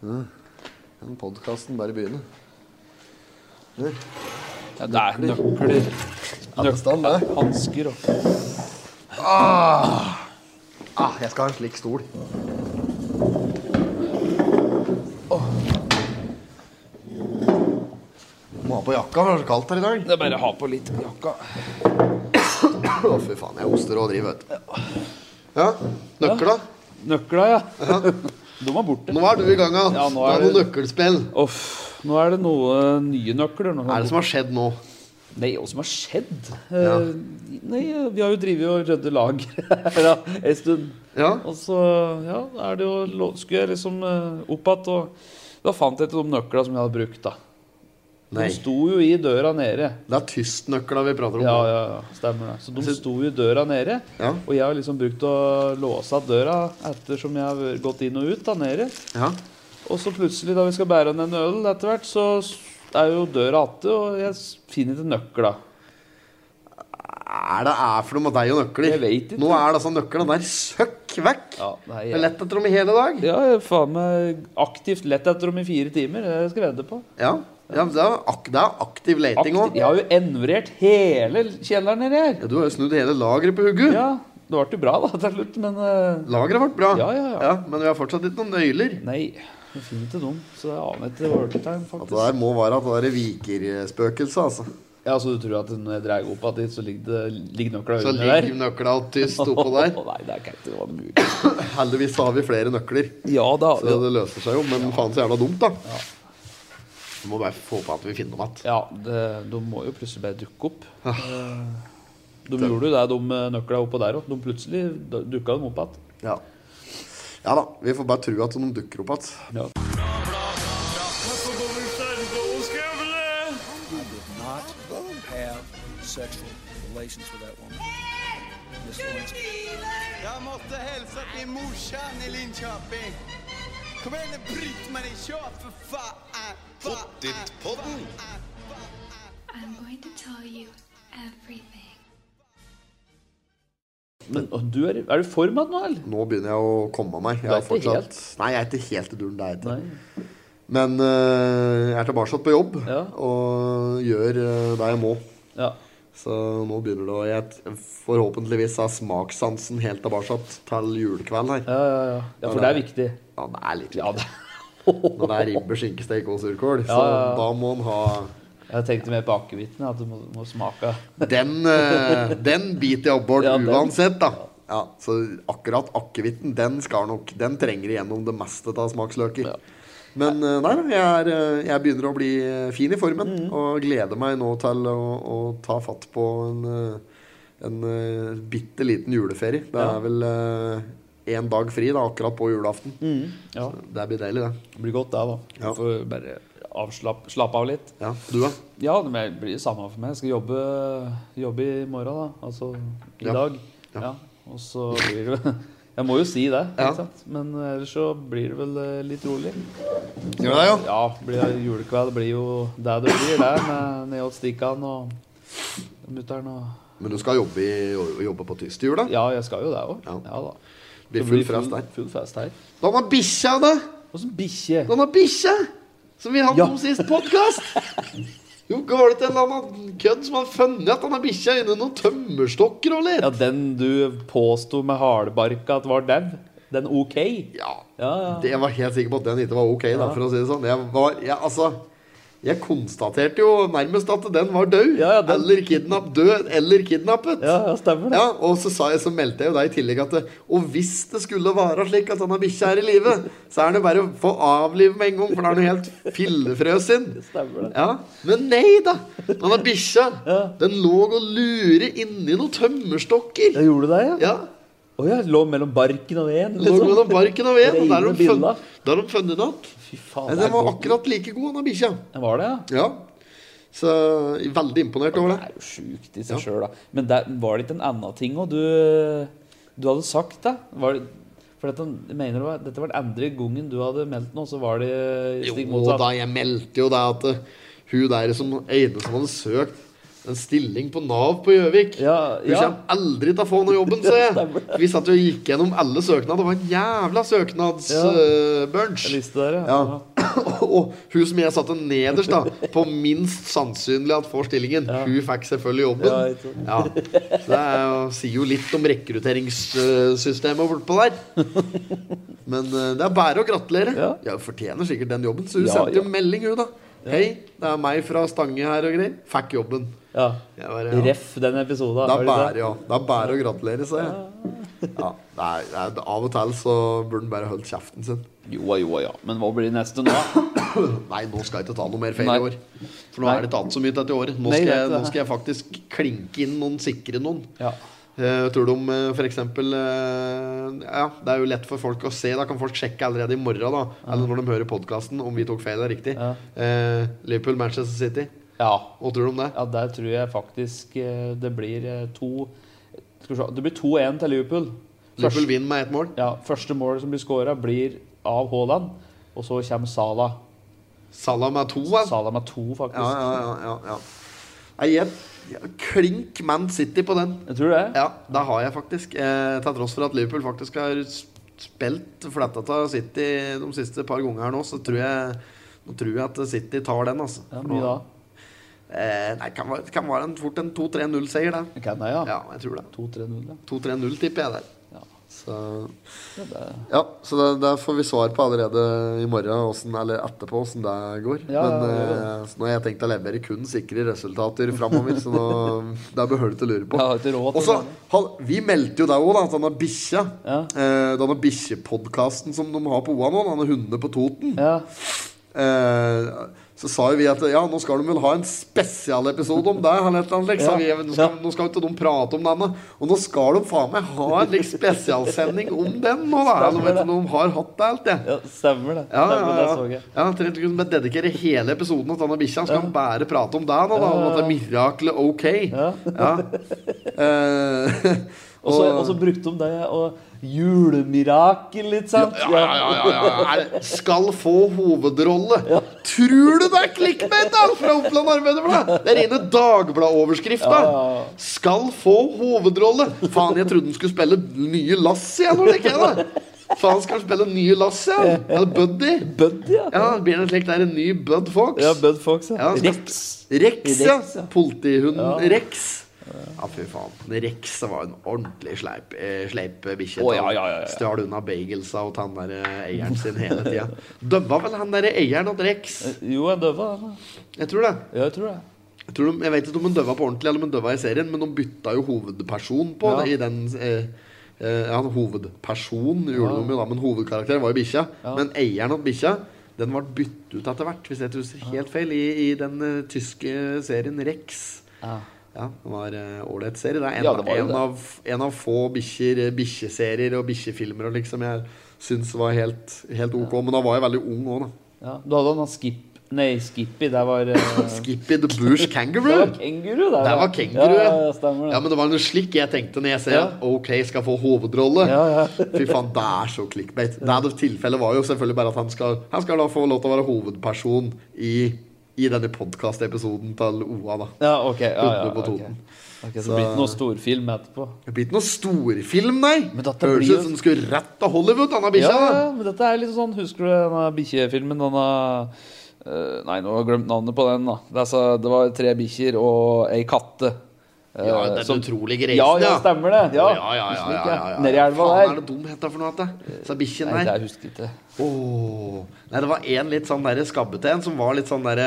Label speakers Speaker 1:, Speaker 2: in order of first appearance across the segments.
Speaker 1: Den podkasten bare begynner. Hør,
Speaker 2: Ja, det er nøkler.
Speaker 1: avstand der.
Speaker 2: Hansker og
Speaker 1: Ah, jeg skal ha en slik stol. Åh. Må ha på jakka, for det er så kaldt her i dag.
Speaker 2: Det er bare å ha på litt jakka.
Speaker 1: Å, fy faen. Jeg hoster og driver, vet du. Ja, nøkla.
Speaker 2: Nøkla, ja. De er borte.
Speaker 1: Nå er du i gang, ja.
Speaker 2: Ja, nå
Speaker 1: det
Speaker 2: er
Speaker 1: er noe
Speaker 2: det-
Speaker 1: nøkkelspill.
Speaker 2: Uff. Nå er det noe nye nøkler. Nå
Speaker 1: Hva er det som har skjedd nå?
Speaker 2: Nei, hva som har skjedd?
Speaker 1: Ja.
Speaker 2: Eh, Nei, vi har jo drevet og ryddet lager her da, en stund.
Speaker 1: Ja,
Speaker 2: Og så ja, er det jo, lo- skulle jeg liksom eh, opp igjen og Da fant jeg til de nøklene som jeg hadde brukt, da. De
Speaker 1: Nei.
Speaker 2: sto jo i døra nede.
Speaker 1: Det er tystnøkla vi prater om.
Speaker 2: Ja, ja, ja, stemmer det. Så de sto jo i døra nede.
Speaker 1: Ja.
Speaker 2: Og jeg har liksom brukt å låse av døra ettersom jeg har gått inn og ut da nede.
Speaker 1: Ja.
Speaker 2: Og så plutselig, da vi skal bære ned en øl etter hvert, så er jo døra atte, og jeg s- finner ikke nøkla.
Speaker 1: Hva er det er for noe med deg og nøkler?
Speaker 2: Jeg vet ikke.
Speaker 1: Nå er det altså nøklene der søkk vekk.
Speaker 2: Ja, nei,
Speaker 1: Jeg har
Speaker 2: jeg,
Speaker 1: lett etter dem i hele dag.
Speaker 2: ja, jeg faen meg aktivt lett etter dem i fire timer. Det skal jeg vedde på.
Speaker 1: Ja, ja men det, er ak det er aktiv leting
Speaker 2: Aktiv,
Speaker 1: òg.
Speaker 2: jeg har jo envrert hele kjelleren nedi her.
Speaker 1: Ja, du har jo snudd hele lageret på hugget.
Speaker 2: Ja, det ble jo bra da til slutt, men eh,
Speaker 1: Lageret ble bra,
Speaker 2: Ja, ja, ja.
Speaker 1: men vi har fortsatt ikke noen nøkler.
Speaker 2: Nei, jeg finner ikke dem, så jeg aner ikke overtime,
Speaker 1: At
Speaker 2: faktisk.
Speaker 1: det der må være at det der vikerspøkelset, altså.
Speaker 2: Ja, så du tror at når jeg dreier opp at dit, så ligger, det, ligger nøkla
Speaker 1: Så
Speaker 2: under der?
Speaker 1: ligger nøkla tyst oppå der.
Speaker 2: Å, nei, det er ikke det var mulig.
Speaker 1: Heldigvis så har vi flere nøkler,
Speaker 2: Ja da.
Speaker 1: så det løser seg jo. Men faen så jævla dumt, da. Vi må bare få på at vi finner dem igjen.
Speaker 2: Ja, det, de må jo plutselig bare dukke opp.
Speaker 1: Ah.
Speaker 2: Eh, De gjorde jo det, de eh, nøkla oppå der òg. De plutselig da- dukka de opp igjen.
Speaker 1: Ja. ja da. Vi får bare tro at de dukker opp igjen.
Speaker 2: Ja.
Speaker 3: not have sexual relations with that woman. Miss Lewinsky.
Speaker 4: Jeg måtte hilse til morsan i Linköping. Kom igjen, bryt meg ikke opp, for faen! Pottit-podden.
Speaker 5: I'm going to tell you everything.
Speaker 2: Men og du er, er du for meg nå, eller?
Speaker 1: Nå begynner jeg å komme meg. Jeg
Speaker 2: Du er
Speaker 1: har
Speaker 2: ikke
Speaker 1: fortsatt...
Speaker 2: helt?
Speaker 1: Nei, jeg er ikke helt i duren. Det er jeg ikke.
Speaker 2: Nei.
Speaker 1: Men eh, jeg er tilbake på jobb
Speaker 2: Ja.
Speaker 1: og gjør eh, det jeg må.
Speaker 2: Ja.
Speaker 1: Så nå begynner det å jeg, Forhåpentligvis er smakssansen helt tilbake til julekveld her.
Speaker 2: Ja, ja, ja. ja, for det er viktig.
Speaker 1: Ja, det er litt
Speaker 2: Ja, det.
Speaker 1: Når det er ribbe, skinkesteik og surkål, så
Speaker 2: ja, ja.
Speaker 1: da må en ha
Speaker 2: Jeg tenkte mer på akevitten, at du må, må smake.
Speaker 1: Den, eh, den biter jeg opp bort
Speaker 2: Ja, den.
Speaker 1: uansett, da. Ja, så akkurat akevitten, den skal nok Den trenger igjennom det meste av smaksløker.
Speaker 2: Ja.
Speaker 1: Men eh, nei, jeg, er, eh, jeg begynner å bli eh, fin i formen
Speaker 2: Mm.
Speaker 1: og gleder meg nå til å, å ta fatt på en, eh, en eh, bitte liten juleferie. Det er vel én dag fri da, akkurat på julaften. Mm.
Speaker 2: Ja,
Speaker 1: Det blir deilig, det.
Speaker 2: det blir godt det, da.
Speaker 1: Ja.
Speaker 2: Du får bare avslapp, slappe av litt.
Speaker 1: Ja, du, da?
Speaker 2: Ja, det blir- blir det samme for meg. Jeg skal jobbe, jobbe i morgen, da. Altså i
Speaker 1: Ja.
Speaker 2: dag.
Speaker 1: Ja.
Speaker 2: Ja. Og så blir det Jeg må jo si det,
Speaker 1: Ja.
Speaker 2: ikke sant? men ellers så blir det vel eh, litt rolig.
Speaker 1: Gjør det, ja.
Speaker 2: Ja, blir det julekveld blir jo det det blir, det. Med ned hos Stikkan og mutter'n og
Speaker 1: Men du skal jobbe, i, jobbe på tyst i jula?
Speaker 2: Ja, jeg skal jo det òg.
Speaker 1: Ja.
Speaker 2: Ja. da.
Speaker 1: Blir
Speaker 2: Så
Speaker 1: full fest der.
Speaker 2: Full fest her.
Speaker 1: Den har bikkja, da!
Speaker 2: Åssen bikkje?
Speaker 1: Den har bikkja! Som vi hadde
Speaker 2: Ja.
Speaker 1: om sist podkast! Jo, går det til en eller annen kødd som har funnet at han har bikkja inni noen tømmerstokker og ler?
Speaker 2: Ja, den du påsto med halebarka at var dau? Den OK?
Speaker 1: Ja.
Speaker 2: Ja, ja.
Speaker 1: Det- Jeg var helt sikker på at den ikke var ok, da, for å si det sånn. Jeg var, jeg, altså jeg konstaterte jo nærmest at den var død.
Speaker 2: Ja, ja, den-
Speaker 1: Eller kidnapp, død eller kidnappet.
Speaker 2: Ja, ja, stemmer det.
Speaker 1: Ja, og så, sa jeg, så meldte jeg jo deg i tillegg at det, Og hvis det skulle være slik at denne bikkja er i live, så er det bare å få avlive med en gang, for da er den helt fillefrøsen.
Speaker 2: Stemmer det.
Speaker 1: Ja, Men nei da! Denne bikkja, den lå og lure inni noen tømmerstokker.
Speaker 2: Jeg gjorde det, ja?
Speaker 1: Ja,
Speaker 2: Å ja, lå mellom barken og veden,
Speaker 1: Lå mellom barken og veden. og Der har
Speaker 2: Reine
Speaker 1: de funn-
Speaker 2: biller.
Speaker 1: der har de funnet den igjen.
Speaker 2: Fy faen,
Speaker 1: Nei,
Speaker 2: det
Speaker 1: Den
Speaker 2: er
Speaker 1: var
Speaker 2: godt.
Speaker 1: akkurat like god, denne bikkja.
Speaker 2: Den var det, ja?
Speaker 1: Ja. Så jeg er veldig imponert over
Speaker 2: Det
Speaker 1: det.
Speaker 2: er jo sjukt i seg sjøl, da. Men der, var det ikke en annen ting òg du, du hadde sagt, da? Var det, for dette, jeg mener det var, dette var den andre gangen du hadde meldt noe, så var det stikk
Speaker 1: Jo,
Speaker 2: motsatt.
Speaker 1: da jeg meldte jo det at eh, hun der som ene som hadde søkt En stilling på Nav på Gjøvik.
Speaker 2: Ja,
Speaker 1: Hun
Speaker 2: ja.
Speaker 1: kommer aldri til å få noe jobben, ser jeg.
Speaker 2: stemmer det.
Speaker 1: Vi satt jo og gikk gjennom alle søknader. Det var en jævla eh,
Speaker 2: Ja.
Speaker 1: søknadsbunch.
Speaker 2: En liste der, ja.
Speaker 1: Ja. og hun som jeg satte nederst, da på minst sannsynlig at får stillingen,
Speaker 2: Ja.
Speaker 1: hun fikk selvfølgelig
Speaker 2: Ja,
Speaker 1: jobben.
Speaker 2: ikke sant.
Speaker 1: Ja, Så det er jo, sier jo litt om rekrutteringssystemet bortpå der. Men eh, det er bare å gratulere.
Speaker 2: Ja.
Speaker 1: Ja, hun fortjener sikkert den jobben. Så hun
Speaker 2: Ja,
Speaker 1: sendte
Speaker 2: ja.
Speaker 1: jo melding, hun, da. Hei, det er meg fra Stange her og greier. Fikk jobben.
Speaker 2: ja.
Speaker 1: Jeg bare, ja.
Speaker 2: Ref den episoden.
Speaker 1: Det
Speaker 2: var
Speaker 1: er
Speaker 2: det
Speaker 1: bare,
Speaker 2: det?
Speaker 1: ja. Det er bare å gratulere, sa jeg. Ja, nei, nei, av og til så burde han bare holdt kjeften sin.
Speaker 2: Jo, jo, ja. Men hva blir neste nå?
Speaker 1: Nei, nå skal jeg ikke ta noe mer feil
Speaker 2: Nei.
Speaker 1: i år. For nå
Speaker 2: Nei.
Speaker 1: er det ikke annet så mye dette året. Nå
Speaker 2: Nei,
Speaker 1: skal,
Speaker 2: det er
Speaker 1: jeg,
Speaker 2: ikke det.
Speaker 1: nå skal jeg faktisk klinke inn noen, sikre noen.
Speaker 2: Ja.
Speaker 1: Eh, tror du om eh, for eksempel eh, Ja, det er jo lett for folk å se. Da kan folk sjekke allerede i morgen, da. Eller når de hører podkasten, om vi tok feil eller riktig.
Speaker 2: Ja.
Speaker 1: Eh, Liverpool, Manchester City.
Speaker 2: ja.
Speaker 1: Hva tror du om det?
Speaker 2: Ja, der tror jeg faktisk eh, det blir eh, to Skal vi se Det blir 2-1 til Liverpool. Første,
Speaker 1: Liverpool vinner med ett mål.
Speaker 2: ja, første målet som blir skåra, blir av Haaland. Og så kommer Salah.
Speaker 1: Salah med to. vel?
Speaker 2: Salah med to, faktisk.
Speaker 1: Ja, ja, ja, ja, ja. Nei, jeg, jeg, klink Man City på den.
Speaker 2: Jeg tror det.
Speaker 1: Ja, det har jeg faktisk. Eh, til tross for at Liverpool faktisk har sp- spilt fletta av City de siste par ganger her nå, så tror jeg, nå tror jeg at City tar den, altså.
Speaker 2: Ja, mye da.
Speaker 1: Eh, nei, kan være, kan være en, fort en 2-3-0-seier, det.
Speaker 2: Jeg kan det, ja.
Speaker 1: Ja, jeg tror det.
Speaker 2: 2-3-0, ja.
Speaker 1: 2-3-0 tipper jeg der.
Speaker 2: Ja.
Speaker 1: Så,
Speaker 2: Ja, det-
Speaker 1: ja, så det, det får vi svar på allerede i morgen, åssen- eller etterpå, åssen det går.
Speaker 2: Ja, ja,
Speaker 1: Men
Speaker 2: ja,
Speaker 1: eh, så nå har jeg tenkt å levere kun sikre resultater framover, så nå, det er behørig til å lure på.
Speaker 2: Jeg har ikke råd
Speaker 1: Og
Speaker 2: til
Speaker 1: så,
Speaker 2: det.
Speaker 1: han, Vi meldte jo deg òg, da. at Denne bikkja.
Speaker 2: Ja.
Speaker 1: Eh, denne bikkjepodkasten som de har på OA nå, denne Hundene på Toten.
Speaker 2: Ja.
Speaker 1: Eh, så sa jo vi at ja, nå skal de vel ha en spesialepisode om deg. Eller et eller annet, liksom.
Speaker 2: Ja.
Speaker 1: vi, nå, skal, nå skal jo ikke de prate om denne. Og nå skal de faen meg ha en like, spesialsending om den nå, da. Jeg vet ikke om de har hatt det helt, jeg.
Speaker 2: ja, stemmer det.
Speaker 1: Ja,
Speaker 2: Stemmer,
Speaker 1: ja,
Speaker 2: Det så
Speaker 1: ja.
Speaker 2: jeg.
Speaker 1: ja Trent kunne bare dedikere hele episoden til denne bikkja. Så kan han bare prate om deg nå, da. Om at det er miraklet OK.
Speaker 2: Ja.
Speaker 1: Eh,
Speaker 2: Og så- Og så brukte de det og julemirakel, ikke sant?
Speaker 1: Ja, ja, ja, ja, ja. Er det- Skal få hovedrolle. Tror du det er clickbait da, fra Oppland Arbeiderblad? Det er rene Dagbladet-overskrift. da.
Speaker 2: Ja, ja, ja.
Speaker 1: Skal få hovedrolle. Faen, jeg trodde han skulle spille nye Lass igjen. Når det ikke er det. Faen, skal han spille nye Lass igjen? Eller Buddy?
Speaker 2: Bud, ja.
Speaker 1: Ja, det blir det slik det er en ny Bud Fox?
Speaker 2: Ja, Bud Fox,
Speaker 1: Ja,
Speaker 2: ja.
Speaker 1: han skal-
Speaker 2: Rex.
Speaker 1: Rex, ja.
Speaker 2: Rex, ja.
Speaker 1: Politihunden
Speaker 2: Ja.
Speaker 1: Rex. Ja, fy faen. Men Rex var en ordentlig sleip, eh, sleip eh, bikkje.
Speaker 2: Å, ja, ja, ja, ja.
Speaker 1: Stjal unna bagelsa og han der eh, eieren sin hele tida. Dømma vel han derre eieren til Rex?
Speaker 2: Jo, jeg døva den.
Speaker 1: Jeg tror det.
Speaker 2: Ja, jeg tror det.
Speaker 1: Jeg, tror de, jeg vet ikke om han døva på ordentlig, eller om han døva i serien, men de bytta jo hovedperson på
Speaker 2: Ja.
Speaker 1: det, i den eh, eh, ja, hovedperson gjorde de jo da, men hovedkarakteren var jo bikkja. Men eieren av bikkja, den ble byttet ut etter hvert, hvis jeg ikke husker helt feil, i, i den eh, tyske serien Rex.
Speaker 2: Ja.
Speaker 1: Ja, det var eh, ålreit serie. Det er en,
Speaker 2: Ja, det var jo
Speaker 1: en,
Speaker 2: det.
Speaker 1: av, en av få bikkjer, eh, bikkjeserier og bikkjefilmer og liksom jeg syns var helt, helt ok. Men da var jeg veldig ung òg, da.
Speaker 2: ja. Du hadde han Skip... Nei, Skippy, det var eh,
Speaker 1: Skippy the Bush
Speaker 2: Det
Speaker 1: Kangaroo.
Speaker 2: var kenguru, det.
Speaker 1: Det var kenguru,
Speaker 2: ja. Ja, stemmer det.
Speaker 1: Ja, men det var noe slik jeg tenkte når jeg ser
Speaker 2: Ja.
Speaker 1: at OK skal få hovedrolle.
Speaker 2: Ja, ja.
Speaker 1: Fy faen, det er så clickbait. Det er det tilfellet var jo selvfølgelig bare at han skal, han skal da få lov til å være hovedperson i, i denne podkastepisoden til OA, da.
Speaker 2: Ja, ok. Ja, ja,
Speaker 1: Hundene på
Speaker 2: ok.
Speaker 1: Toten.
Speaker 2: Ok, så det blir ikke noe storfilm etterpå.
Speaker 1: Det blir ikke noe storfilm, nei.
Speaker 2: Men dette blir
Speaker 1: Høres
Speaker 2: jo-
Speaker 1: ut som den skulle rett til Hollywood, denne
Speaker 2: Ja,
Speaker 1: bikkja.
Speaker 2: ja,
Speaker 1: da.
Speaker 2: ja, men dette er litt sånn Husker du denne bikkjefilmen? Denne eh, Nei, nå har jeg glemt navnet på den. da Det, er så- det var tre bikkjer og ei katte. eh,
Speaker 1: Ja, den utrolige reisen,
Speaker 2: ja, ja,
Speaker 1: ja.
Speaker 2: stemmer det.
Speaker 1: Å,
Speaker 2: Ja,
Speaker 1: ja, ja, ja,
Speaker 2: Husker
Speaker 1: ja,
Speaker 2: ikke
Speaker 1: ja,
Speaker 2: jeg.
Speaker 1: ja.
Speaker 2: Nede i elva
Speaker 1: Faen, er
Speaker 2: der.
Speaker 1: det dum heter for noe, dette? Sa bikkjen
Speaker 2: Nei,
Speaker 1: der.
Speaker 2: det jeg husker ikke.
Speaker 1: Åh. Nei, det var en litt sånn der skabbete en som var litt sånn der